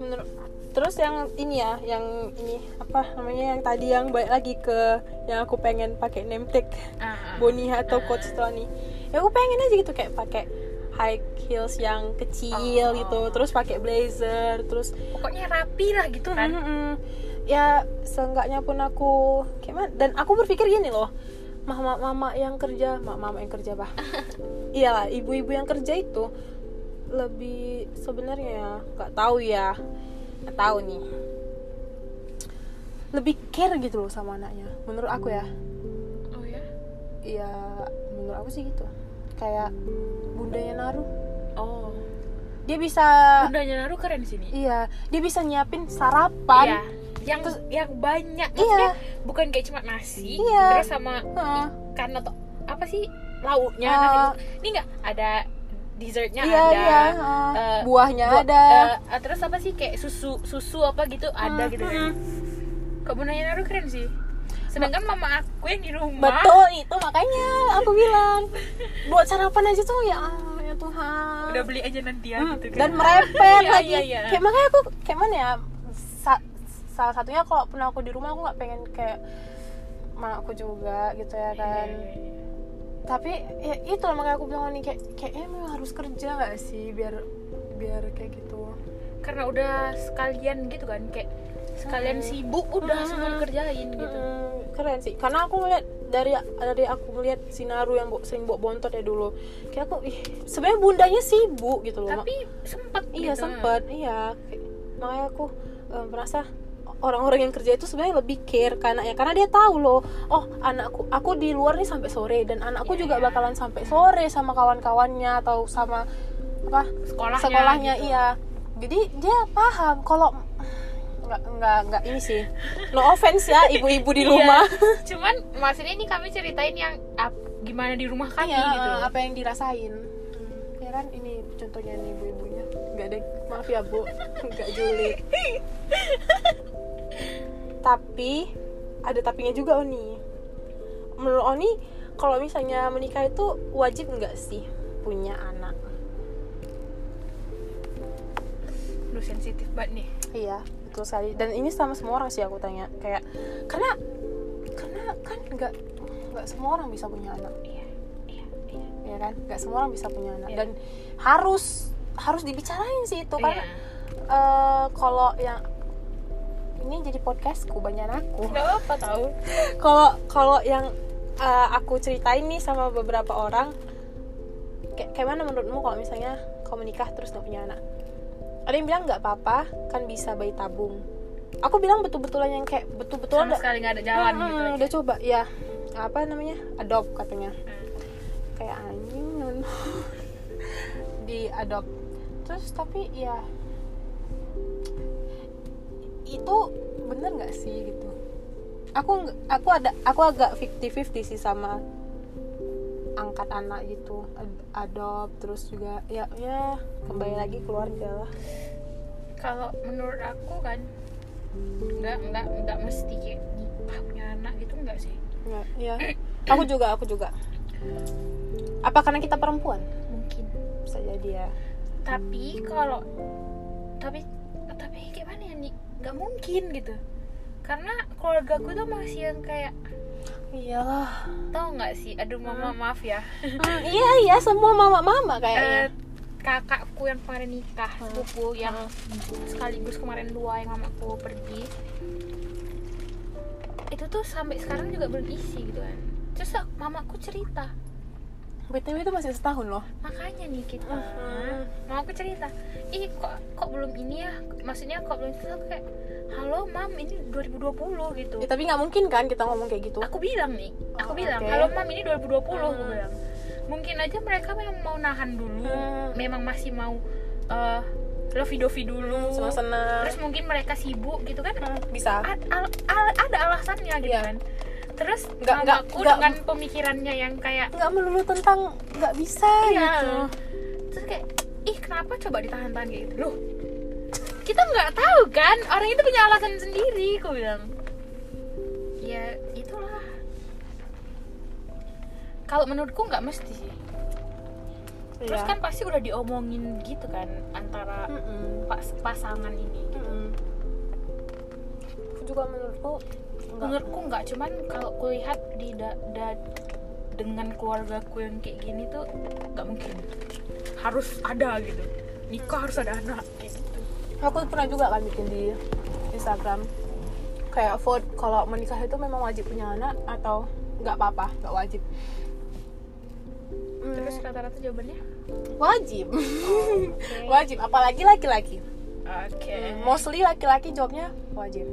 Menurut Terus yang ini ya, yang ini apa namanya yang tadi yang balik lagi ke yang aku pengen pakai name tag. Ah, ah. Boni atau Coach Tony ya aku pengen aja gitu kayak pakai high heels yang Oh. kecil gitu terus pakai blazer terus pokoknya rapi lah gitu kan Mm-mm. ya seenggaknya pun aku gimana dan aku berpikir gini loh mama mama yang kerja mak mama yang kerja bah iyalah ibu-ibu yang kerja itu lebih sebenarnya nggak tahu ya nggak tahu nih lebih care gitu loh sama anaknya menurut aku ya oh ya ya menurut aku sih gitu kayak bundanya Naruh oh dia bisa bundanya Naru keren di sini iya dia bisa nyiapin sarapan Iya. yang Terus- yang banyak Iya. maksudnya bukan kayak cuma nasi Iya. terus sama Heeh. karena atau apa sih lauknya Ah. nasi bungkus. ini nggak ada dessertnya iya ada iya heeh. eh, buahnya Bu- ada eh, terus apa sih kayak susu susu apa gitu ada gitu kan Mm-mm. kok Bunaya Naru keren sih sedangkan mama aku yang di rumah betul itu makanya aku bilang buat sarapan aja tuh ya Allah, ya Tuhan udah beli aja nanti ya Hmm, gitu kan dan merepet Iya, lagi iya, iya. kayak makanya aku kayak mana ya sa- salah satunya kalau pernah aku di rumah aku nggak pengen kayak mak aku juga gitu Iya, ya kan tapi ya itu lah makanya aku bilang nih kayak kayaknya memang harus kerja nggak sih biar biar kayak gitu karena udah sekalian gitu kan kayak sekalian Mm. sibuk udah semua Mm. dikerjain gitu Mm, keren sih karena aku melihat dari dari aku melihat sinaru yang bo- sering bawa bontot ya dulu kayak aku ih sebenarnya bundanya sibuk gitu loh Mak. tapi sempet iya gitu. sempet iya Kayak- makanya aku eh, merasa orang-orang yang kerja itu sebenarnya lebih care karena ya karena dia tahu loh oh anakku aku di luar nih sampai sore dan anakku Iya, juga iya. bakalan sampai sore sama kawan-kawannya atau sama apa sekolahnya, sekolahnya gitu. iya jadi dia paham kalau nggak nggak nggak ini sih no offense ya ibu-ibu di Iya. rumah cuman maksudnya ini kami ceritain yang ap- gimana di rumah kami Iya, gitu loh. apa yang dirasain ya kan ini contohnya nih ibu-ibunya nggak ada maaf ya bu nggak julid tapi ada tapinya juga Oni menurut Oni kalau misalnya menikah itu wajib nggak sih punya anak Aduh, sensitif banget nih iya betul sekali dan ini sama semua orang sih aku tanya kayak karena karena kan nggak nggak semua orang bisa punya anak iya iya iya ya kan nggak semua orang bisa punya anak Iya. dan harus harus dibicarain sih itu karena Iya. eh kalau yang ini jadi podcastku banyak aku nggak apa tahu kalau kalau yang eh, aku ceritain nih sama beberapa orang kayak kayak mana menurutmu kalau misalnya kau menikah terus nggak punya anak ada yang bilang nggak apa-apa kan bisa bayi tabung aku bilang betul-betulan yang kayak betul-betulan sama sekali nggak ada jalan Hmm, gitu aja. udah coba ya apa namanya adopt katanya Hmm. kayak anjing non di adopt terus tapi ya itu bener nggak sih gitu aku nggak- aku ada aku agak 50-50 sih sama angkat anak gitu Ad- adopt terus juga ya ya kembali lagi keluarga lah kalau menurut aku kan nggak nggak nggak mesti kayak nikah punya anak gitu nggak sih ya, ya. aku juga aku juga apa karena kita perempuan mungkin bisa jadi ya tapi kalau tapi tapi gimana ya nih nggak mungkin gitu karena keluarga gue tuh masih yang kayak iyalah tau nggak sih aduh mama maaf ya Hmm, iya iya semua mama-mama Eh, kayaknya. kakakku yang kemarin nikah sepupu yang sekaligus kemarin dua yang mamaku pergi itu tuh sampai sekarang juga belum isi gitu kan terus mamaku cerita BTW itu masih setahun loh. makanya nih kita Mhm. mau aku cerita ih kok kok belum ini ya maksudnya kok belum cerita Aku kayak halo mam ini 2020 gitu Ya, tapi nggak mungkin kan kita ngomong kayak gitu. aku bilang nih aku Oh, bilang oke. halo mam ini 2020 aku Hmm. bilang mungkin aja mereka memang mau nahan dulu Hmm. memang masih mau eh lovey dovey dulu Semua senang. terus mungkin mereka sibuk gitu kan Hmm, bisa. Ad- al- al- ada alasannya gitu Iya. kan terus Nggak- nggak- mamaku nggak- dengan pemikirannya yang kayak Nggak melulu tentang nggak bisa Iya. gitu. Terus kayak, ih kenapa coba ditahan-tahan kayak gitu? Loh, kita nggak tahu kan? Orang itu punya alasan sendiri, aku bilang. Ya, itulah. Kalau menurutku nggak mesti sih. Terus Iya. Hmm. kan pasti udah diomongin gitu kan antara Mm-mm. pas- pasangan ini. Mm-mm. Aku juga menurutku nggak- Menurutku nggak, cuman kalau kulihat di da- da- dengan keluargaku yang kayak gini tuh nggak mungkin. Harus ada gitu. Nikah harus ada anak gitu. aku pernah juga kan bikin di Instagram kayak vote kalau menikah itu memang wajib punya anak atau nggak apa-apa nggak wajib Hmm, Terus rata-rata jawabannya? Mm, wajib wajib apalagi laki-laki Oke. Hmm, mostly laki-laki jawabnya wajib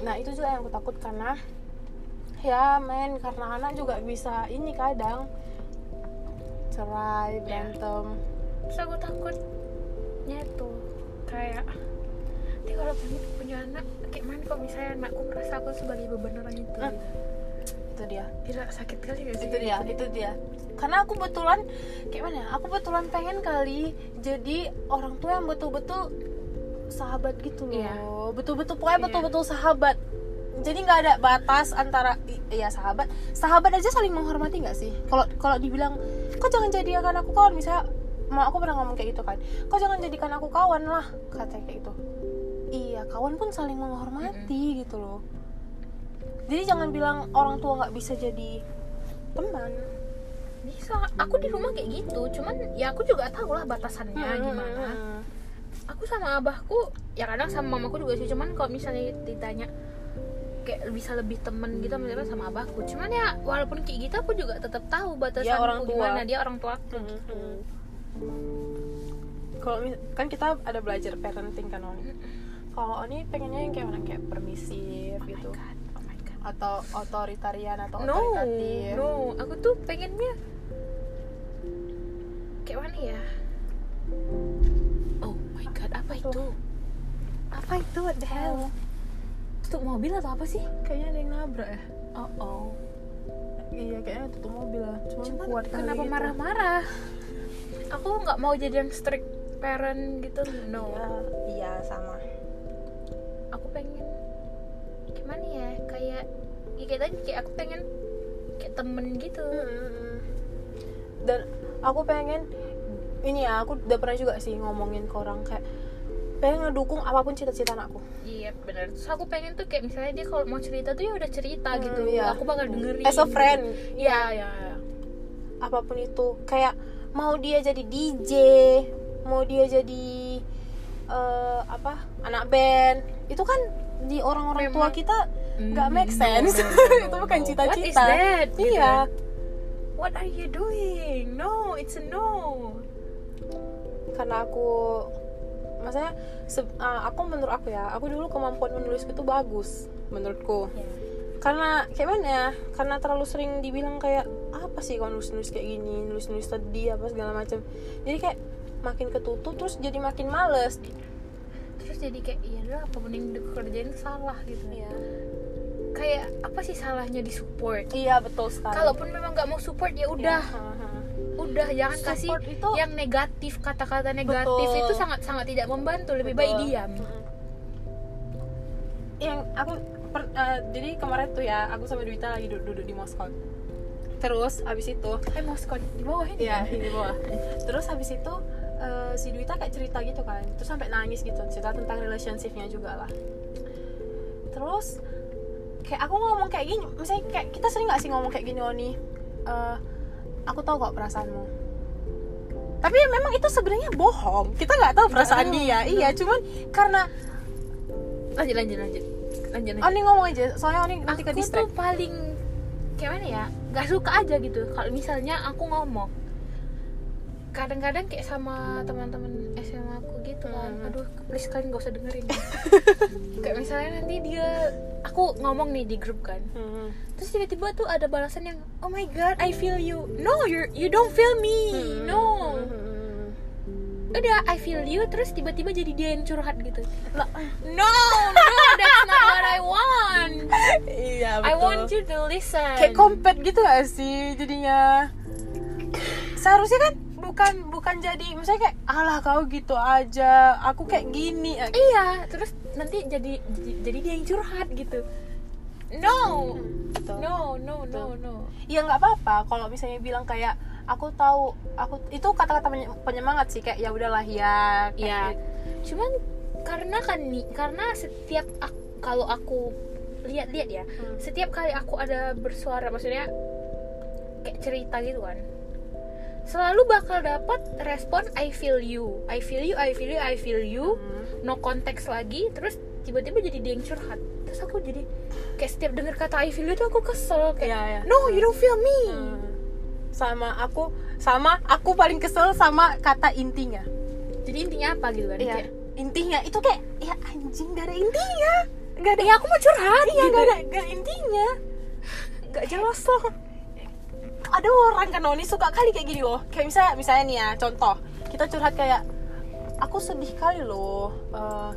nah itu juga yang aku takut karena ya men karena anak juga bisa ini kadang cerai Iya. berantem Terus aku takutnya itu kayak nanti kalau punya, punya anak kayak mana kalau misalnya anakku merasa aku sebagai beban orang itu Hmm. gitu. itu dia Gila sakit kali gak sih? itu dia itu dia karena aku betulan kayak mana ya, aku betulan pengen kali jadi orang tua yang betul-betul sahabat gitu loh Iya. betul-betul pokoknya Iya. betul-betul sahabat jadi nggak ada batas antara i- iya sahabat sahabat aja saling menghormati nggak sih kalau kalau dibilang kok jangan jadikan aku kawan misalnya mau aku pernah ngomong kayak gitu kan kok jangan jadikan aku kawan lah katanya kayak gitu iya kawan pun saling menghormati gitu loh jadi jangan bilang orang tua nggak bisa jadi teman Bisa. Aku di rumah kayak gitu, cuman ya aku juga tahu lah batasannya Ya, Hmm, gimana. Aku sama abahku, ya kadang sama mamaku juga sih, cuman kalau misalnya ditanya kayak bisa lebih temen gitu misalnya sama abahku. Cuman ya walaupun kayak gitu aku juga tetap tahu batasanku Ya, orang tua. gimana dia orang tua Oh Kalau mis- kan kita ada belajar parenting kan Oni. Kalau Oni pengennya yang kayak mana kayak permisif gitu Mm-hmm. Oh my god, oh my god. atau otoritarian atau No, otoritatif. no, aku tuh pengennya kayak mana ya? Oh my god, apa itu? Apa itu what the hell? Tutup mobil atau apa sih? Kayaknya ada yang nabrak ya. Oh oh, iya kayaknya tutup mobil lah cuman, cuman kuat kali kenapa gitu. marah-marah aku nggak mau jadi yang strict parent gitu no Ya, iya sama aku pengen gimana ya kayak ya kayak tadi kayak aku pengen kayak temen gitu Mm-hmm. dan aku pengen ini ya aku udah pernah juga sih ngomongin ke orang kayak pengen ngedukung apapun cita-cita anakku iya benar terus aku pengen tuh kayak misalnya dia kalau mau cerita tuh ya udah cerita Hmm, gitu iya. aku bakal dengerin as a friend iya iya iya. apapun itu kayak mau dia jadi DJ mau dia jadi eh, apa anak band itu kan di orang-orang tua Memang- kita nggak Mm, make sense no, no, no, itu no. bukan what is cita-cita that Gitu iya kan. what are you doing no it's a no karena aku maksudnya se- ah, aku menurut aku ya aku dulu kemampuan menulisku itu bagus menurutku Iya. karena kayak mana ya karena terlalu sering dibilang kayak apa sih kalau nulis nulis kayak gini nulis nulis sedih apa segala macam jadi kayak makin ketutup terus jadi makin males terus jadi kayak iya lah apapun yang dikerjain salah gitu iya kayak apa sih salahnya di support iya betul sekali kalaupun memang nggak mau support ya Iya, udah ha, ha. udah jangan kasih Support itu yang negatif kata-kata negatif Betul. itu sangat sangat tidak membantu lebih Betul. baik diam Mm-mm. yang aku per- eh, jadi kemarin tuh ya aku sama Duita lagi duduk, duduk di Moskow terus abis itu eh moskon di bawah ini Iya, kan? ini bawah. Terus habis itu eh, si Duita kayak cerita gitu kan. Terus sampai nangis gitu, cerita tentang relationship-nya juga lah. Terus kayak aku ngomong kayak gini, misalnya kayak kita sering nggak sih ngomong kayak gini Oni? Eh, aku tahu kok perasaanmu. Tapi ya memang itu sebenarnya bohong. Kita nggak tahu perasaan tahu, dia. Iya, cuman karena lanjut lanjut lanjut lanjut lanjut Oni ngomong aja, soalnya Oni nanti ke Iya. aku tuh distract. paling kayak mana ya nggak suka aja gitu kalau misalnya aku ngomong kadang-kadang kayak sama teman-teman SMA aku gitu kan Hmm. aduh please kalian gak usah dengerin kayak misalnya nanti dia aku ngomong nih di grup kan Hmm. terus tiba-tiba tuh ada balasan yang oh my god I feel you no you you don't feel me no Hmm. udah I feel you terus tiba-tiba jadi dia yang curhat gitu Lah, no no that's not what I want Iya, betul. I want you to listen kayak kompet gitu gak sih jadinya seharusnya kan bukan bukan jadi misalnya kayak alah kau gitu aja aku kayak gini Eh, iya terus nanti jadi jadi, jadi dia yang curhat gitu no gitu. no no no no ya nggak apa-apa kalau misalnya bilang kayak aku tahu aku itu kata-kata penye- penyemangat sih kayak ya udahlah ya kayak Iya. gitu. cuman karena kan nih karena setiap ak- kalau aku lihat-lihat ya Hmm. setiap kali aku ada bersuara maksudnya kayak cerita gitu kan selalu bakal dapat respon I feel you I feel you I feel you I feel you Hmm. no konteks lagi terus tiba-tiba jadi dia yang curhat terus aku jadi kayak setiap dengar kata I feel you tuh aku kesel kayak Iya, iya. no you don't feel me Hmm. sama aku sama aku paling kesel sama kata intinya jadi intinya apa gitu kan Iya. kayak intinya itu kayak ya anjing gak ada intinya nggak ada ya aku mau curhat iya gitu. gak ada gak ada intinya nggak jelas loh ada orang kan Noni suka kali kayak gini loh kayak misalnya misalnya nih ya contoh kita curhat kayak aku sedih kali loh eh,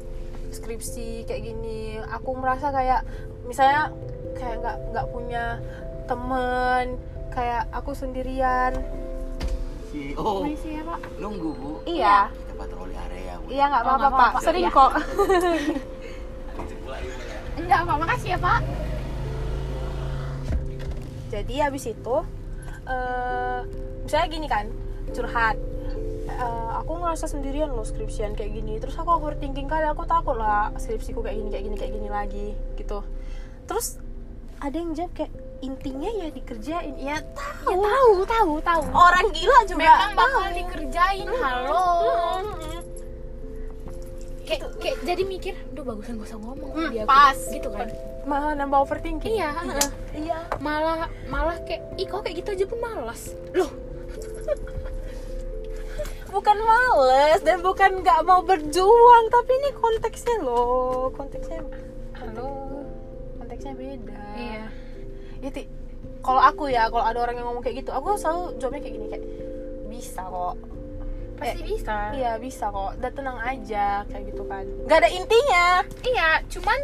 skripsi kayak gini aku merasa kayak misalnya kayak nggak nggak punya temen kayak aku sendirian CEO siapa nunggu bu iya ya, kita patroli area bu iya nggak Oh, apa-apa nggak pak apa-apa, sering ya. kok Itu pula, itu pula. enggak apa makasih ya pak jadi habis itu eh misalnya gini kan curhat Eh, aku ngerasa sendirian loh skripsian kayak gini terus aku overthinking kali aku takut lah skripsiku kayak gini kayak gini kayak gini lagi gitu terus ada yang jawab kayak intinya ya dikerjain ya, ya tahu tahu tahu tahu Hmm. orang gila juga memang tahu. bakal dikerjain halo Gitu. Mm-mm. kayak kayak jadi mikir duh bagusan gak usah ngomong Hmm, dia pas. gitu kan malah nambah overthinking iya heeh. iya malah malah kayak ih kok kayak gitu aja pun malas loh bukan males dan bukan nggak mau berjuang tapi ini konteksnya loh konteksnya halo konteksnya beda Iya. ya Ti, kalau aku ya kalau ada orang yang ngomong kayak gitu aku selalu jawabnya kayak gini kayak bisa kok pasti bisa iya bisa kok udah tenang aja kayak gitu kan nggak ada intinya iya cuman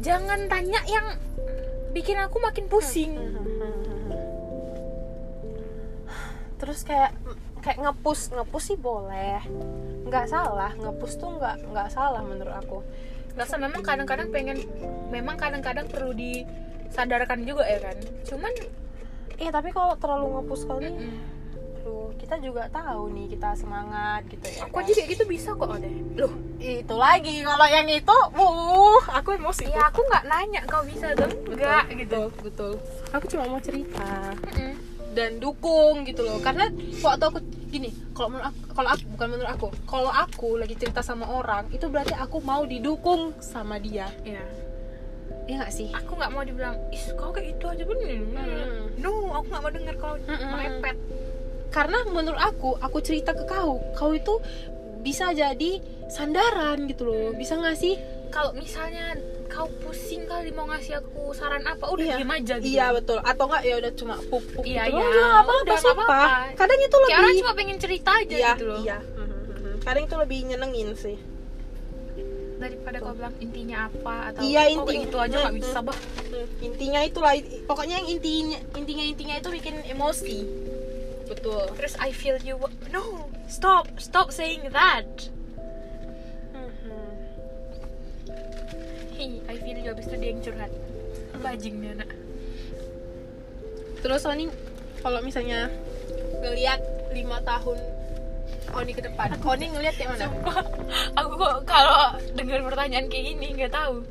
jangan tanya yang bikin aku makin pusing terus kayak kayak ngepus ngepus sih boleh nggak salah ngepus tuh nggak nggak salah menurut aku rasa memang kadang-kadang pengen memang kadang-kadang perlu disadarkan juga ya kan cuman iya tapi kalau terlalu ngepus kali mm, aduh, kita juga tahu nih kita semangat gitu ya aku kan? aja kayak gitu bisa kok deh loh itu lagi kalau yang itu wuh aku emosi ya aku nggak nanya kau bisa dong enggak gitu betul aku cuma mau cerita Mm-mm. dan dukung gitu loh karena waktu aku gini kalau menurut aku, kalau aku bukan menurut aku kalau aku lagi cerita sama orang itu berarti aku mau didukung sama dia Iya. Iya nggak sih aku nggak mau dibilang is kau kayak itu aja bener ya?" Mm. no aku nggak mau denger kau Mm-mm. merepet karena menurut aku aku cerita ke kau kau itu bisa jadi sandaran gitu loh bisa nggak sih kalau misalnya kau pusing kali mau ngasih aku saran apa udah Iya. diem aja gitu iya betul atau nggak ya udah cuma pup pup Iya, iya. gitu loh. Udah, nggak apa-apa Udah, nggak sumpah. apa-apa. kadang itu Kayak orang lebih Hmm, cuma pengen cerita aja iya gitu loh iya Mhm. kadang itu lebih nyenengin sih daripada kau bilang intinya apa atau Iya, "Kau kayak inti- gitu aja nggak Mm-mm. bisa bah intinya itulah pokoknya yang intinya intinya intinya itu bikin emosi betul terus I feel you no stop stop saying that Hmm. Hi, I feel you abis itu dia yang curhat bajing dia nak terus Oni kalau misalnya ngelihat lima tahun Oni ke depan Oni ngelihat kayak mana Sumpah, aku kok kalau dengar pertanyaan kayak gini nggak tahu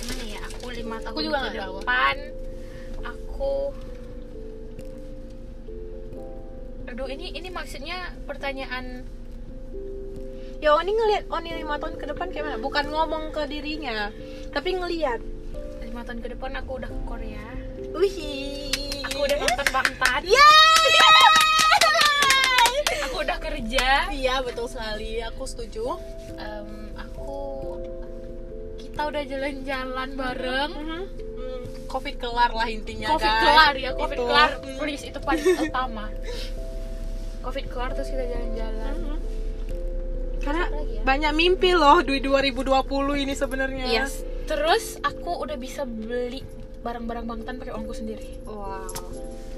gimana ya aku lima tahun juga ke nggak tahu. depan aku aduh ini ini maksudnya pertanyaan ya Oni ngelihat Oni lima tahun ke depan kayak mana bukan ngomong ke dirinya tapi ngelihat lima tahun ke depan aku udah ke Korea wih aku udah nonton Bangtan ya aku udah kerja iya betul sekali aku setuju Em, aku kita udah jalan-jalan bareng Hmm, covid kelar lah intinya Covid guys. kelar ya, Covid Itu. kelar. Hmm. Please itu paling utama. Covid kelar terus kita jalan-jalan. Mhm. karena Apa lagi ya? banyak mimpi loh di 2020 ini sebenarnya Yes. Terus aku udah bisa beli barang-barang Bangtan pakai uangku sendiri. wow Oh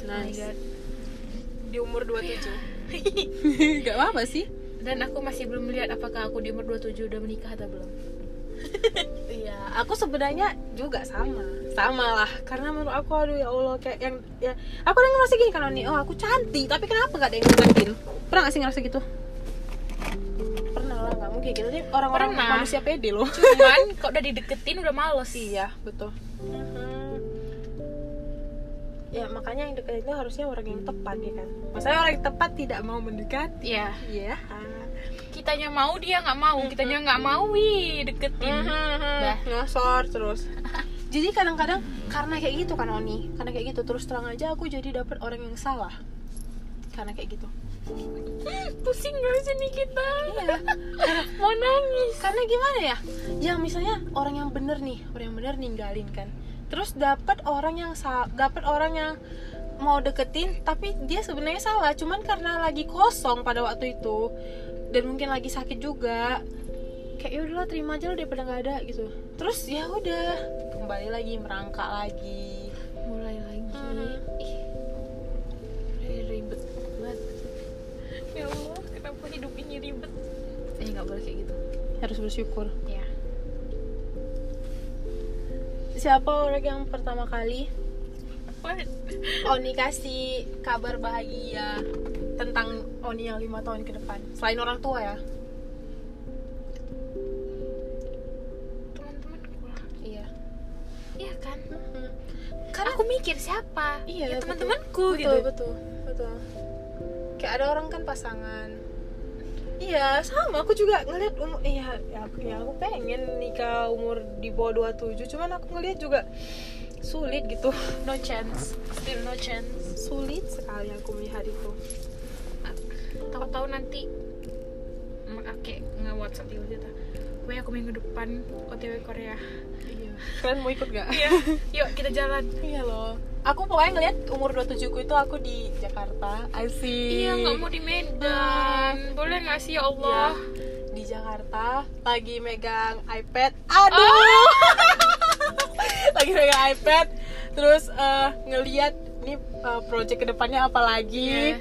my nice God. di umur 27 Gak apa-apa sih Dan aku masih belum melihat apakah aku di umur 27 udah menikah atau belum. Iya, aku sebenarnya juga sama. sama lah Karena menurut aku aduh ya Allah kayak yang ya aku udah ngerasa gini kalau nih, oh aku cantik, tapi kenapa gak ada yang ngertiin? Pernah gak sih ngerasa gitu? Pernah lah, gak mungkin gitu. Ini orang-orang Pernah. manusia pede loh. Cuman kok udah dideketin udah males sih. Iya, betul. Mm-hmm. Ya makanya yang deketin itu harusnya orang yang tepat ya kan. Masalahnya orang yang tepat tidak mau mendekati. Iya. Iya. Kitanya mau dia nggak mau, kitanya nggak mau wih deketin. Bah. nyosor terus Jadi kadang-kadang karena kayak gitu kan Oni, karena kayak gitu terus terang aja aku jadi dapet orang yang salah. Karena kayak gitu. Mm-hmm. Hmm, Pusing gak sih nih kita? Iya. Mau nangis. karena gimana ya ya misalnya orang yang bener nih orang yang bener ninggalin kan terus dapat orang yang sa- dapat orang yang mau deketin tapi dia sebenarnya salah cuman karena lagi kosong pada waktu itu dan mungkin lagi sakit juga kayak ya udahlah terima aja lo daripada nggak ada gitu terus ya udah kembali lagi merangkak lagi Mulai lagi. Mhm. Ih. Udah ribet banget. Ya Allah, kenapa hidup ini ribet? Eh, nggak boleh kayak gitu. harus bersyukur Ya. siapa orang yang pertama kali What? Oni kasih kabar bahagia tentang Oni yang lima tahun ke depan. Selain orang tua ya. Teman-temanku lah. Iya. Iya kan? Karena aku mikir siapa? Iya, ya, betul. teman-temanku betul, gitu. betul, betul. Kayak ada orang kan pasangan. Iya, sama. Aku juga ngeliat umur. Iya, ya aku, ya aku pengen nikah umur di bawah 27 Cuman aku ngeliat juga sulit gitu. No chance. Still no chance. Sulit sekali aku melihat itu. Tahu-tahu nanti Oke, nge-whatsapp dulu kita Gue aku minggu depan OTW Korea Iya. Kalian mau ikut gak? Iya, yuk kita jalan iya loh. Aku pokoknya ngeliat umur 27 ku itu aku di Jakarta. Asik. Iya, nggak mau di Medan Boleh nggak sih, ya Allah? di Jakarta lagi megang iPad. Aduh. Oh. lagi pegang iPad terus eh, ngeliat nih eh, project kedepannya apa lagi Iya.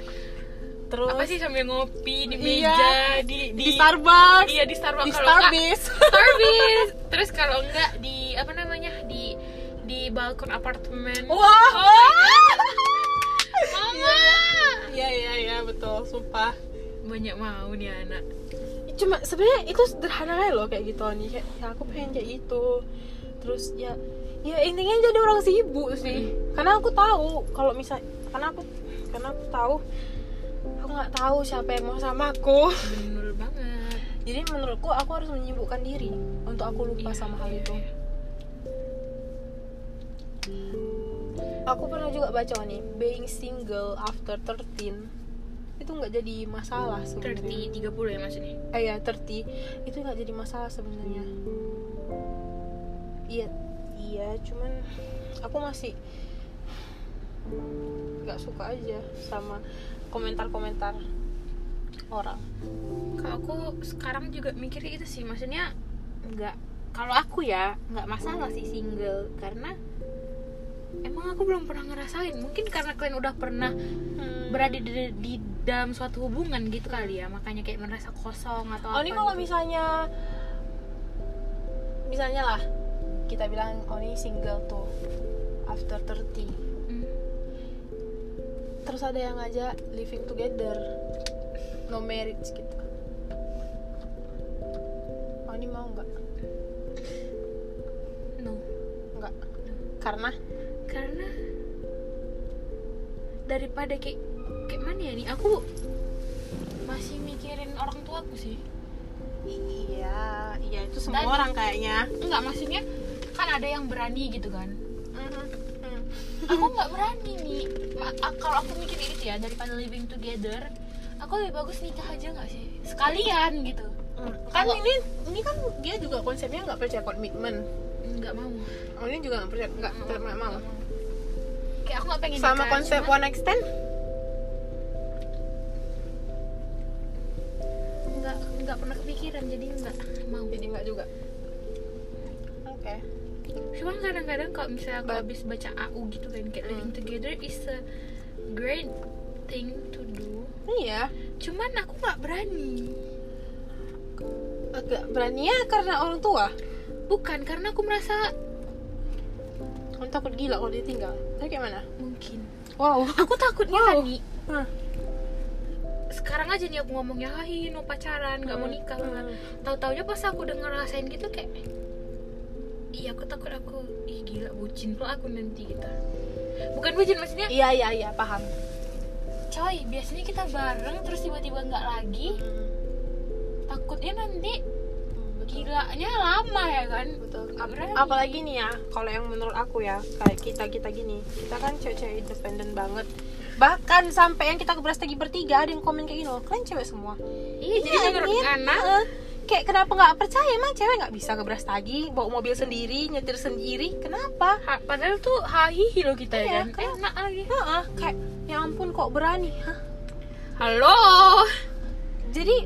terus apa sih sambil ngopi di meja Iya, di, di, Starbucks iya di Starbucks di kalau enggak- Starbucks Starbucks terus kalau enggak di apa namanya di di balkon apartemen wah mama iya iya iya betul sumpah banyak mau nih anak cuma sebenarnya itu sederhana aja loh kayak gitu nih kayak ya aku pengen kayak itu terus ya ya intinya jadi orang sibuk sih karena aku tahu kalau misal karena aku karena aku tahu aku nggak tahu siapa yang mau sama aku bener banget Iya, jadi menurutku aku harus menyibukkan diri untuk aku lupa sama hal itu aku pernah juga baca nih being single after 13 itu nggak jadi masalah 30 sebenarnya 30 ya maksudnya eh ya 30 itu nggak jadi masalah sebenarnya iya iya cuman aku masih nggak suka aja sama komentar-komentar orang kalau aku sekarang juga mikirnya itu sih maksudnya nggak kalau aku ya nggak masalah sih single karena emang aku belum pernah ngerasain mungkin karena kalian udah pernah Hmm. berada di, di dalam suatu hubungan gitu kali ya makanya kayak merasa kosong atau apa Oni Oh, kalau gitu. misalnya misalnya lah kita bilang Oni single tuh after 30 Hmm. terus ada yang ngajak living together no marriage gitu Oni mau nggak no nggak karena karena daripada kayak kayak mana ya nih aku masih mikirin orang tuaku sih iya iya itu semua orang kayaknya enggak maksudnya kan ada yang berani gitu kan Mm-hmm. Mm. aku nggak berani nih Ma- a- kalau aku mikir itu ya daripada living together aku lebih bagus nikah aja nggak sih sekalian gitu kan Kalau- ini ini kan dia juga konsepnya nggak percaya komitmen nggak mau Oni juga nggak percaya nggak nggak mau kayak aku nggak pengen sama nikah, konsep cuman one extend nggak nggak pernah kepikiran jadi nggak mau jadi nggak juga oke cuman kadang-kadang kalau misalnya aku Ba- habis baca AU gitu kan kayak living together is a great thing to do iya cuman aku nggak berani agak berani ya karena orang tua bukan karena aku merasa Kamu takut gila kalau ditinggal tapi kayak mana mungkin wow aku takutnya Wow. kan nih Hmm. sekarang aja nih aku ngomongnya hai no pacaran nggak mau Hmm. nikah Hmm. tahu taunya pas aku udah ngerasain gitu kayak iya aku takut aku ih gila bucin pula aku nanti gitu bukan bucin maksudnya iya iya iya paham coy biasanya kita bareng terus tiba-tiba nggak lagi Mm. takutnya nanti gilanya lama ya kan betul Nggak berani. apalagi nih ya kalau yang menurut aku ya kayak kita kita gini kita kan cewek-cewek independen banget bahkan sampai yang kita keberas lagi bertiga ada yang komen kayak gini loh kalian cewek semua iya jadi menurut anjir. Ngana Heeh. kayak kenapa nggak percaya emang cewek nggak bisa keberas lagi bawa mobil sendiri nyetir sendiri kenapa ha- padahal tuh hahihi loh kita ya Iya, kan enak lagi Heeh, kayak ya ampun kok berani Hah? halo jadi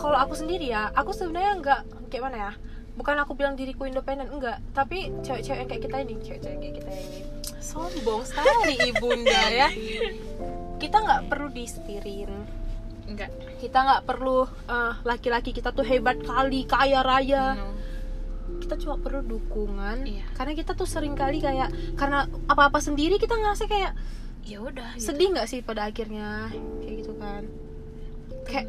kalau aku sendiri ya aku sebenarnya nggak kayak mana ya bukan aku bilang diriku independen enggak tapi cewek-cewek yang kayak kita ini cewek-cewek yang kayak kita ini sombong sekali ibunda ya kita nggak perlu disetirin enggak kita nggak perlu eh, laki-laki kita tuh hebat kali kaya raya no. kita cuma perlu dukungan Iya. karena kita tuh sering kali kayak karena apa-apa sendiri kita ngerasa kayak ya udah gitu. sedih nggak sih pada akhirnya kayak gitu kan kayak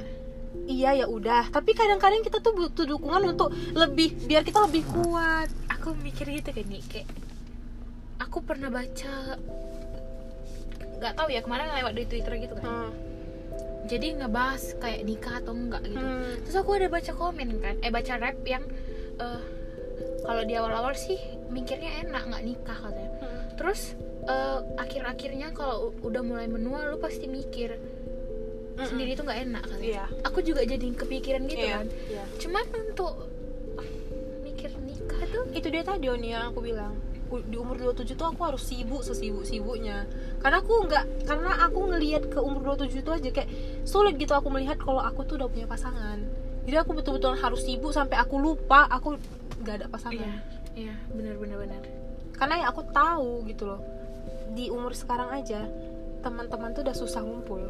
iya ya udah tapi kadang-kadang kita tuh butuh dukungan untuk lebih biar kita lebih kuat aku mikir gitu kan nih kayak aku pernah baca nggak tahu ya kemarin lewat di twitter gitu kan Hmm. jadi ngebahas kayak nikah atau enggak gitu Hmm. terus aku ada baca komen kan eh baca rap yang eh, kalau di awal-awal sih mikirnya enak nggak nikah katanya Hmm. terus eh, akhir-akhirnya kalau u- udah mulai menua lu pasti mikir Mm-mm. sendiri tuh nggak enak katanya Iya. aku juga jadi kepikiran gitu Hmm. Iya, kan iya. cuman untuk ah, mikir nikah tuh itu dia tadi Oni yang aku bilang U- di umur 27 tuh aku harus sibuk sesibuk sibuknya karena aku nggak karena aku ngelihat ke umur 27 tuh aja kayak sulit gitu aku melihat kalau aku tuh udah punya pasangan jadi aku betul-betul harus sibuk sampai aku lupa aku nggak ada pasangan iya benar benar benar karena yang aku tahu gitu loh di umur sekarang aja teman-teman tuh udah susah ngumpul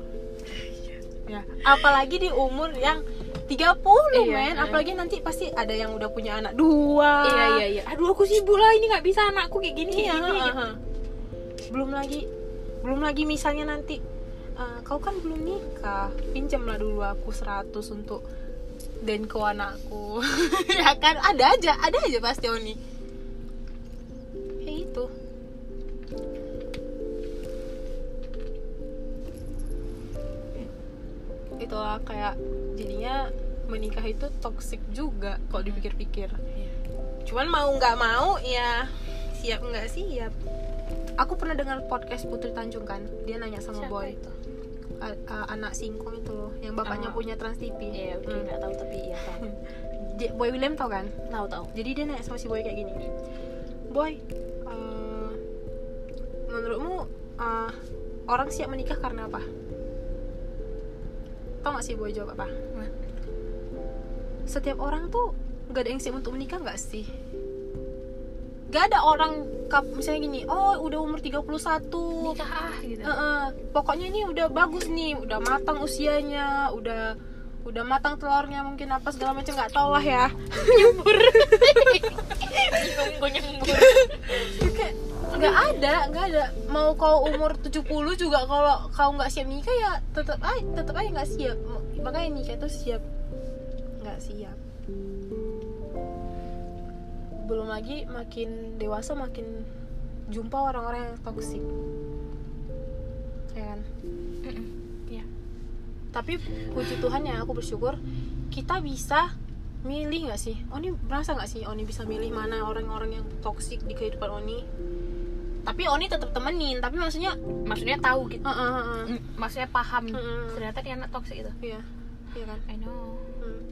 ya apalagi di umur yang 30 Iya, men iya. apalagi nanti pasti ada yang udah punya anak dua iya iya iya aduh aku sibuk lah ini nggak bisa anakku kayak gini Iya, kayak gini heeh, gitu. heeh. belum lagi belum lagi misalnya nanti eh, kau kan belum nikah pinjamlah dulu aku 100 untuk denko anakku ya kan ada aja ada aja pasti Oni kayak gitu itulah kayak jadinya menikah itu toksik juga kalau dipikir-pikir Hmm. Iya. cuman mau nggak mau ya siap nggak siap aku pernah dengar podcast Putri Tanjung kan dia nanya sama Siapa boy itu? A- a- anak singkong itu loh yang bapaknya Ah. punya Trans TV iya oke Hmm. nggak tahu tapi iya tahu Dia- boy William tau kan tahu tahu jadi dia nanya sama si boy kayak gini boy eh, menurutmu eh, orang siap menikah karena apa tau gak si boy jawab apa Apa? setiap orang tuh gak ada yang siap untuk menikah gak sih gak ada orang kap- misalnya gini oh udah umur 31 nikah ah gitu Heeh, pokoknya ini udah bagus nih, udah matang usianya, udah udah matang telurnya mungkin apa segala macam nggak tau lah ya. nyembur nyembur Kayak nggak ada, nggak ada. Mau kau umur 70 juga kalau kau nggak siap nikah ya tetap aja tetap aja nggak siap. Makanya nikah itu siap nggak siap. Belum lagi makin dewasa makin jumpa orang-orang yang toksik. Ya kan? ya tapi puji Tuhan ya aku bersyukur kita bisa milih nggak sih Oni merasa nggak sih Oni bisa milih mana orang-orang yang toksik di kehidupan Oni tapi Oni tetap temenin tapi maksudnya maksudnya tahu gitu eh, eh, eh, eh. Mm, maksudnya paham Mm-mm. ternyata dia anak toksik itu iya iya kan I know Hmm.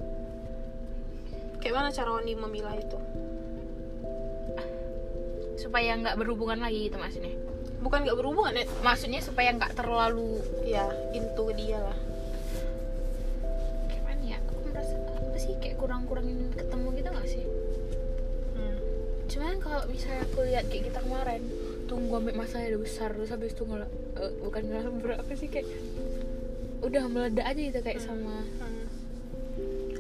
kayak mana cara Oni memilah itu supaya nggak berhubungan lagi gitu maksudnya bukan nggak berhubungan ya maksudnya supaya nggak terlalu ya itu dia lah gimana ya aku merasa apa sih kayak kurang-kurangin ketemu gitu nggak sih Hmm. cuman kalau misalnya aku lihat kayak kita kemarin tunggu sampai masa udah besar terus habis itu ngelak eh, bukan ngelambur apa sih kayak udah meledak aja gitu kayak sama Hmm.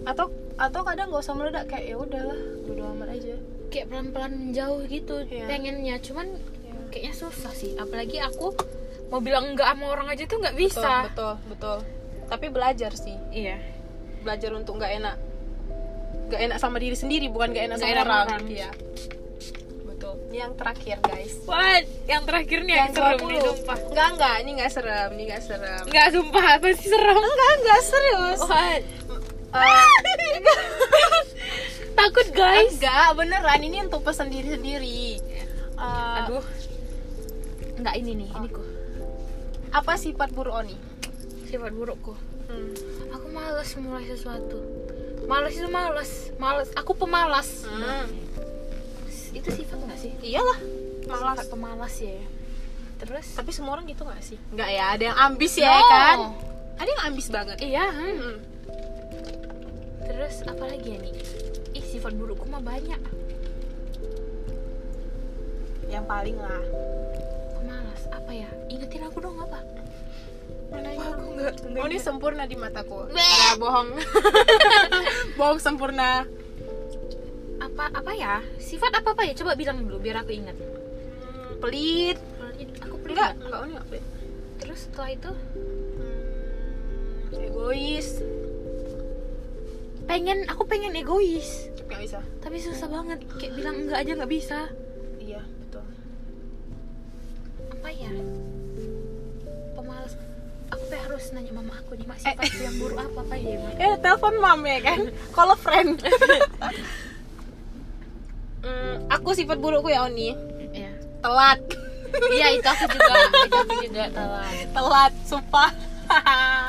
atau atau kadang nggak usah meledak kayak ya udahlah bodo amat aja kayak pelan-pelan menjauh gitu Iya. pengennya cuman Iya. kayaknya susah sih apalagi aku mau bilang enggak sama orang aja tuh nggak bisa betul betul betul. tapi belajar sih iya belajar untuk nggak enak nggak enak sama diri sendiri bukan nggak enak Nggak sama enak sama orang, orang. Iya. betul Ini yang terakhir guys what yang terakhir nih yang serem nih sumpah nggak nggak ini nggak serem ini nggak serem nggak sumpah apa sih serem nggak nggak serius what Eh, takut guys nggak beneran ini untuk pesan diri sendiri Eh, aduh nggak ini nih ini ku apa sifat buruk Oni sifat burukku Hmm. aku males mulai sesuatu males itu males males aku pemalas Hmm. itu sifat nggak sih iyalah sifat malas pemalas ya terus tapi semua orang gitu nggak sih nggak ya ada yang ambis ya No. kan ada yang ambis banget iya hmm. Hmm. terus apa lagi ya nih ih sifat burukku mah banyak yang paling lah pemalas apa ya ingetin aku dong apa aku nggak Oni sempurna di mataku Weh. ya bohong bohong sempurna apa apa ya sifat apa apa ya coba bilang dulu biar aku ingat pelit Pelit. aku pelit enggak nggak? enggak Oni enggak pelit terus setelah itu Hmm, egois pengen aku pengen egois nggak bisa tapi susah banget kayak bilang enggak aja nggak bisa iya betul apa ya pemalas aku kayak harus nanya mama aku nih masih Eh. sifat yang buruk apa apa ya Ma? eh telepon mam ya kan call a friend Hmm, aku sifat burukku ya Oni Iya. telat iya itu aku juga itu aku juga telat telat sumpah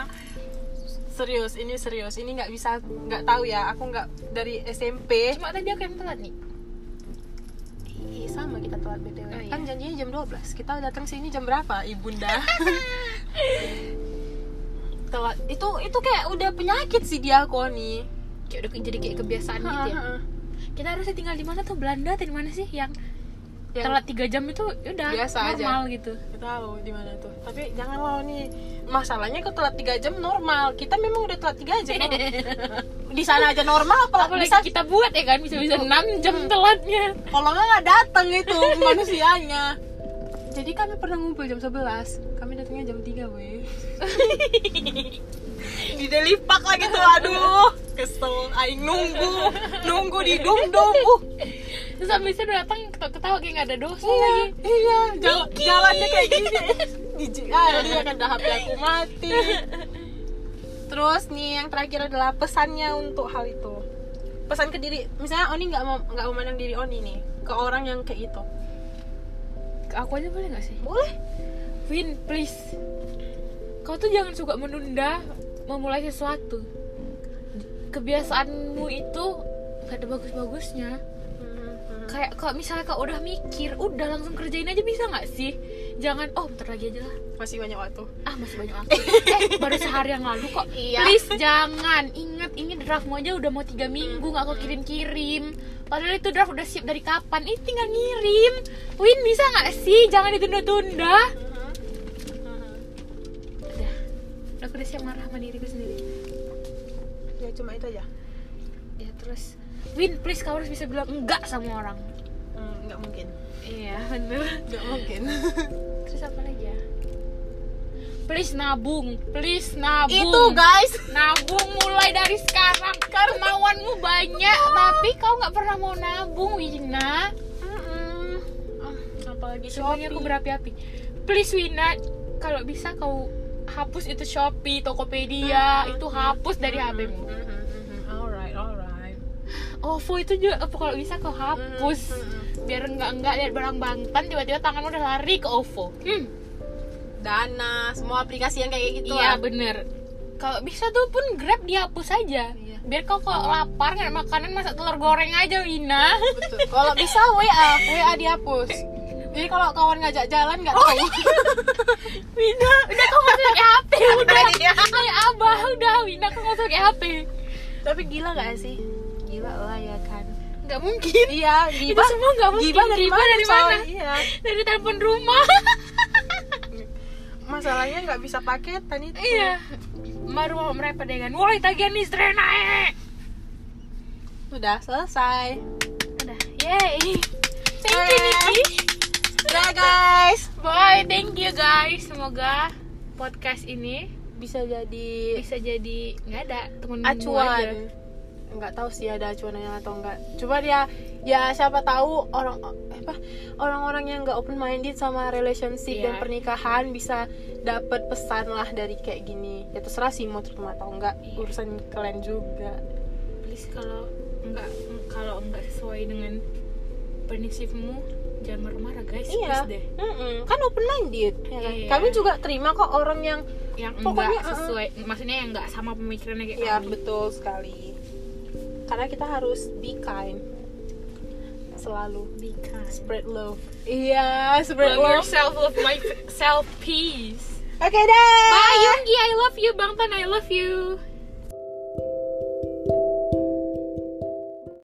serius ini serius ini nggak bisa nggak tahu ya aku nggak dari SMP Eh, cuma tadi aku yang telat nih Iya sama kita telat BTW. Oh, iya. Kan janjinya jam 12. Kita datang sini jam berapa, Ibunda? telat. Itu itu kayak udah penyakit sih dia Koni. ya? kayak udah jadi kayak kebiasaan gitu ya kita harusnya tinggal di mana tuh Belanda atau di mana sih yang Yang- telat tiga jam itu ya udah Biasa aja. normal gitu Nggak tahu di mana tuh tapi jangan loh nih masalahnya kok telat 3 jam normal kita memang udah telat 3 jam normal. di sana aja normal apalagi apalagi bisa kita buat ya kan bisa bisa enam jam telatnya kalau nggak nggak datang itu manusianya jadi kami pernah ngumpul jam 11 kami datangnya jam 3 weh di delipak lagi tuh aduh kesel aing nunggu nunggu di dum dum uh terus habis itu datang ketawa ketawa kayak nggak ada dosa iya lagi iya jala- jalannya kayak gini jijik ah dia kan dah HP aku mati terus nih yang terakhir adalah pesannya untuk hal itu pesan ke diri misalnya Oni nggak mau nggak memandang diri Oni nih ke orang yang kayak gitu Ke aku aja boleh nggak sih boleh Win please kau tuh jangan suka menunda memulai sesuatu kebiasaanmu itu gak ada bagus-bagusnya kayak kalau misalnya kau udah mikir udah langsung kerjain aja bisa nggak sih jangan oh bentar lagi aja lah masih banyak waktu ah masih banyak waktu eh baru sehari yang lalu kok Iya. please jangan ingat ini draftmu aja udah mau tiga minggu nggak kau kirim kirim padahal itu draft udah siap dari kapan ini tinggal ngirim Win bisa nggak sih jangan ditunda-tunda Mm-hmm. udah aku udah siap marah sama diriku sendiri ya cuma itu aja ya terus Win please kau harus bisa bilang enggak sama orang Hmm, nggak mungkin iya bener nggak mungkin terus apa lagi ya please nabung please nabung itu guys Nabung mulai dari sekarang. Kemauanmu banyak, tapi kau nggak pernah mau nabung, Wina. Ah, apalagi Semuanya aku berapi-api. Please Wina, kalau bisa kau hapus itu Shopee, Tokopedia, itu hapus dari HPmu. alright alright OVO Oh, itu juga apa kalau bisa kau hapus. Biar enggak enggak lihat barang Bangtan tiba-tiba tanganmu udah lari ke OVO. Hmm. Dana, semua aplikasi yang kayak gitu. Iya lah. bener Kalau bisa tuh pun Grab dihapus aja Iya. Biar kau kalau lapar nggak ada makanan masak telur goreng aja Wina betul. Kalau bisa WA, WA dihapus. Jadi kalau kawan ngajak jalan nggak tahu. Wina, udah kamu masuk pakai HP, udah kayak abah, udah Wina kamu masuk pakai HP. Tapi gila nggak sih? Gila lah ya kan. Nggak mungkin. Iya, Itu gibah. semua nggak mungkin. Gibah dari Gibah mana? Dari, mana? coy? Iya. Dari telepon rumah. Masalahnya nggak bisa paketan itu. iya. Baru mau merepet dengan mulai tagihan eh." listrik naik. Sudah selesai. Udah, yay. Thank you Yeay. Niki. Udah Nah, guys. Bye, thank you guys. Semoga podcast ini Bisa jadi bisa jadi nggak ada temen aja. acuan. Nggak tahu sih ada acuannya atau enggak. Coba ya ya siapa tahu orang apa orang-orang yang nggak open minded sama relationship Iya. dan pernikahan bisa dapat pesan lah dari kayak gini ya terserah sih mau terima atau enggak Iya. urusan kalian juga please kalau nggak kalau nggak sesuai dengan prinsipmu jangan marah-marah guys Iya. please deh Mm-mm, kan open minded ya kan? Iya. kami juga terima kok orang yang yang Pokoknya, uh-uh. nggak sesuai maksudnya yang nggak sama pemikirannya kayak ya kamu. betul sekali karena kita harus be kind selalu Be kind. spread love iya Love spread love yourself, love myself, peace. oke deh Bye Yonggi, I love you. Bangtan, I love you.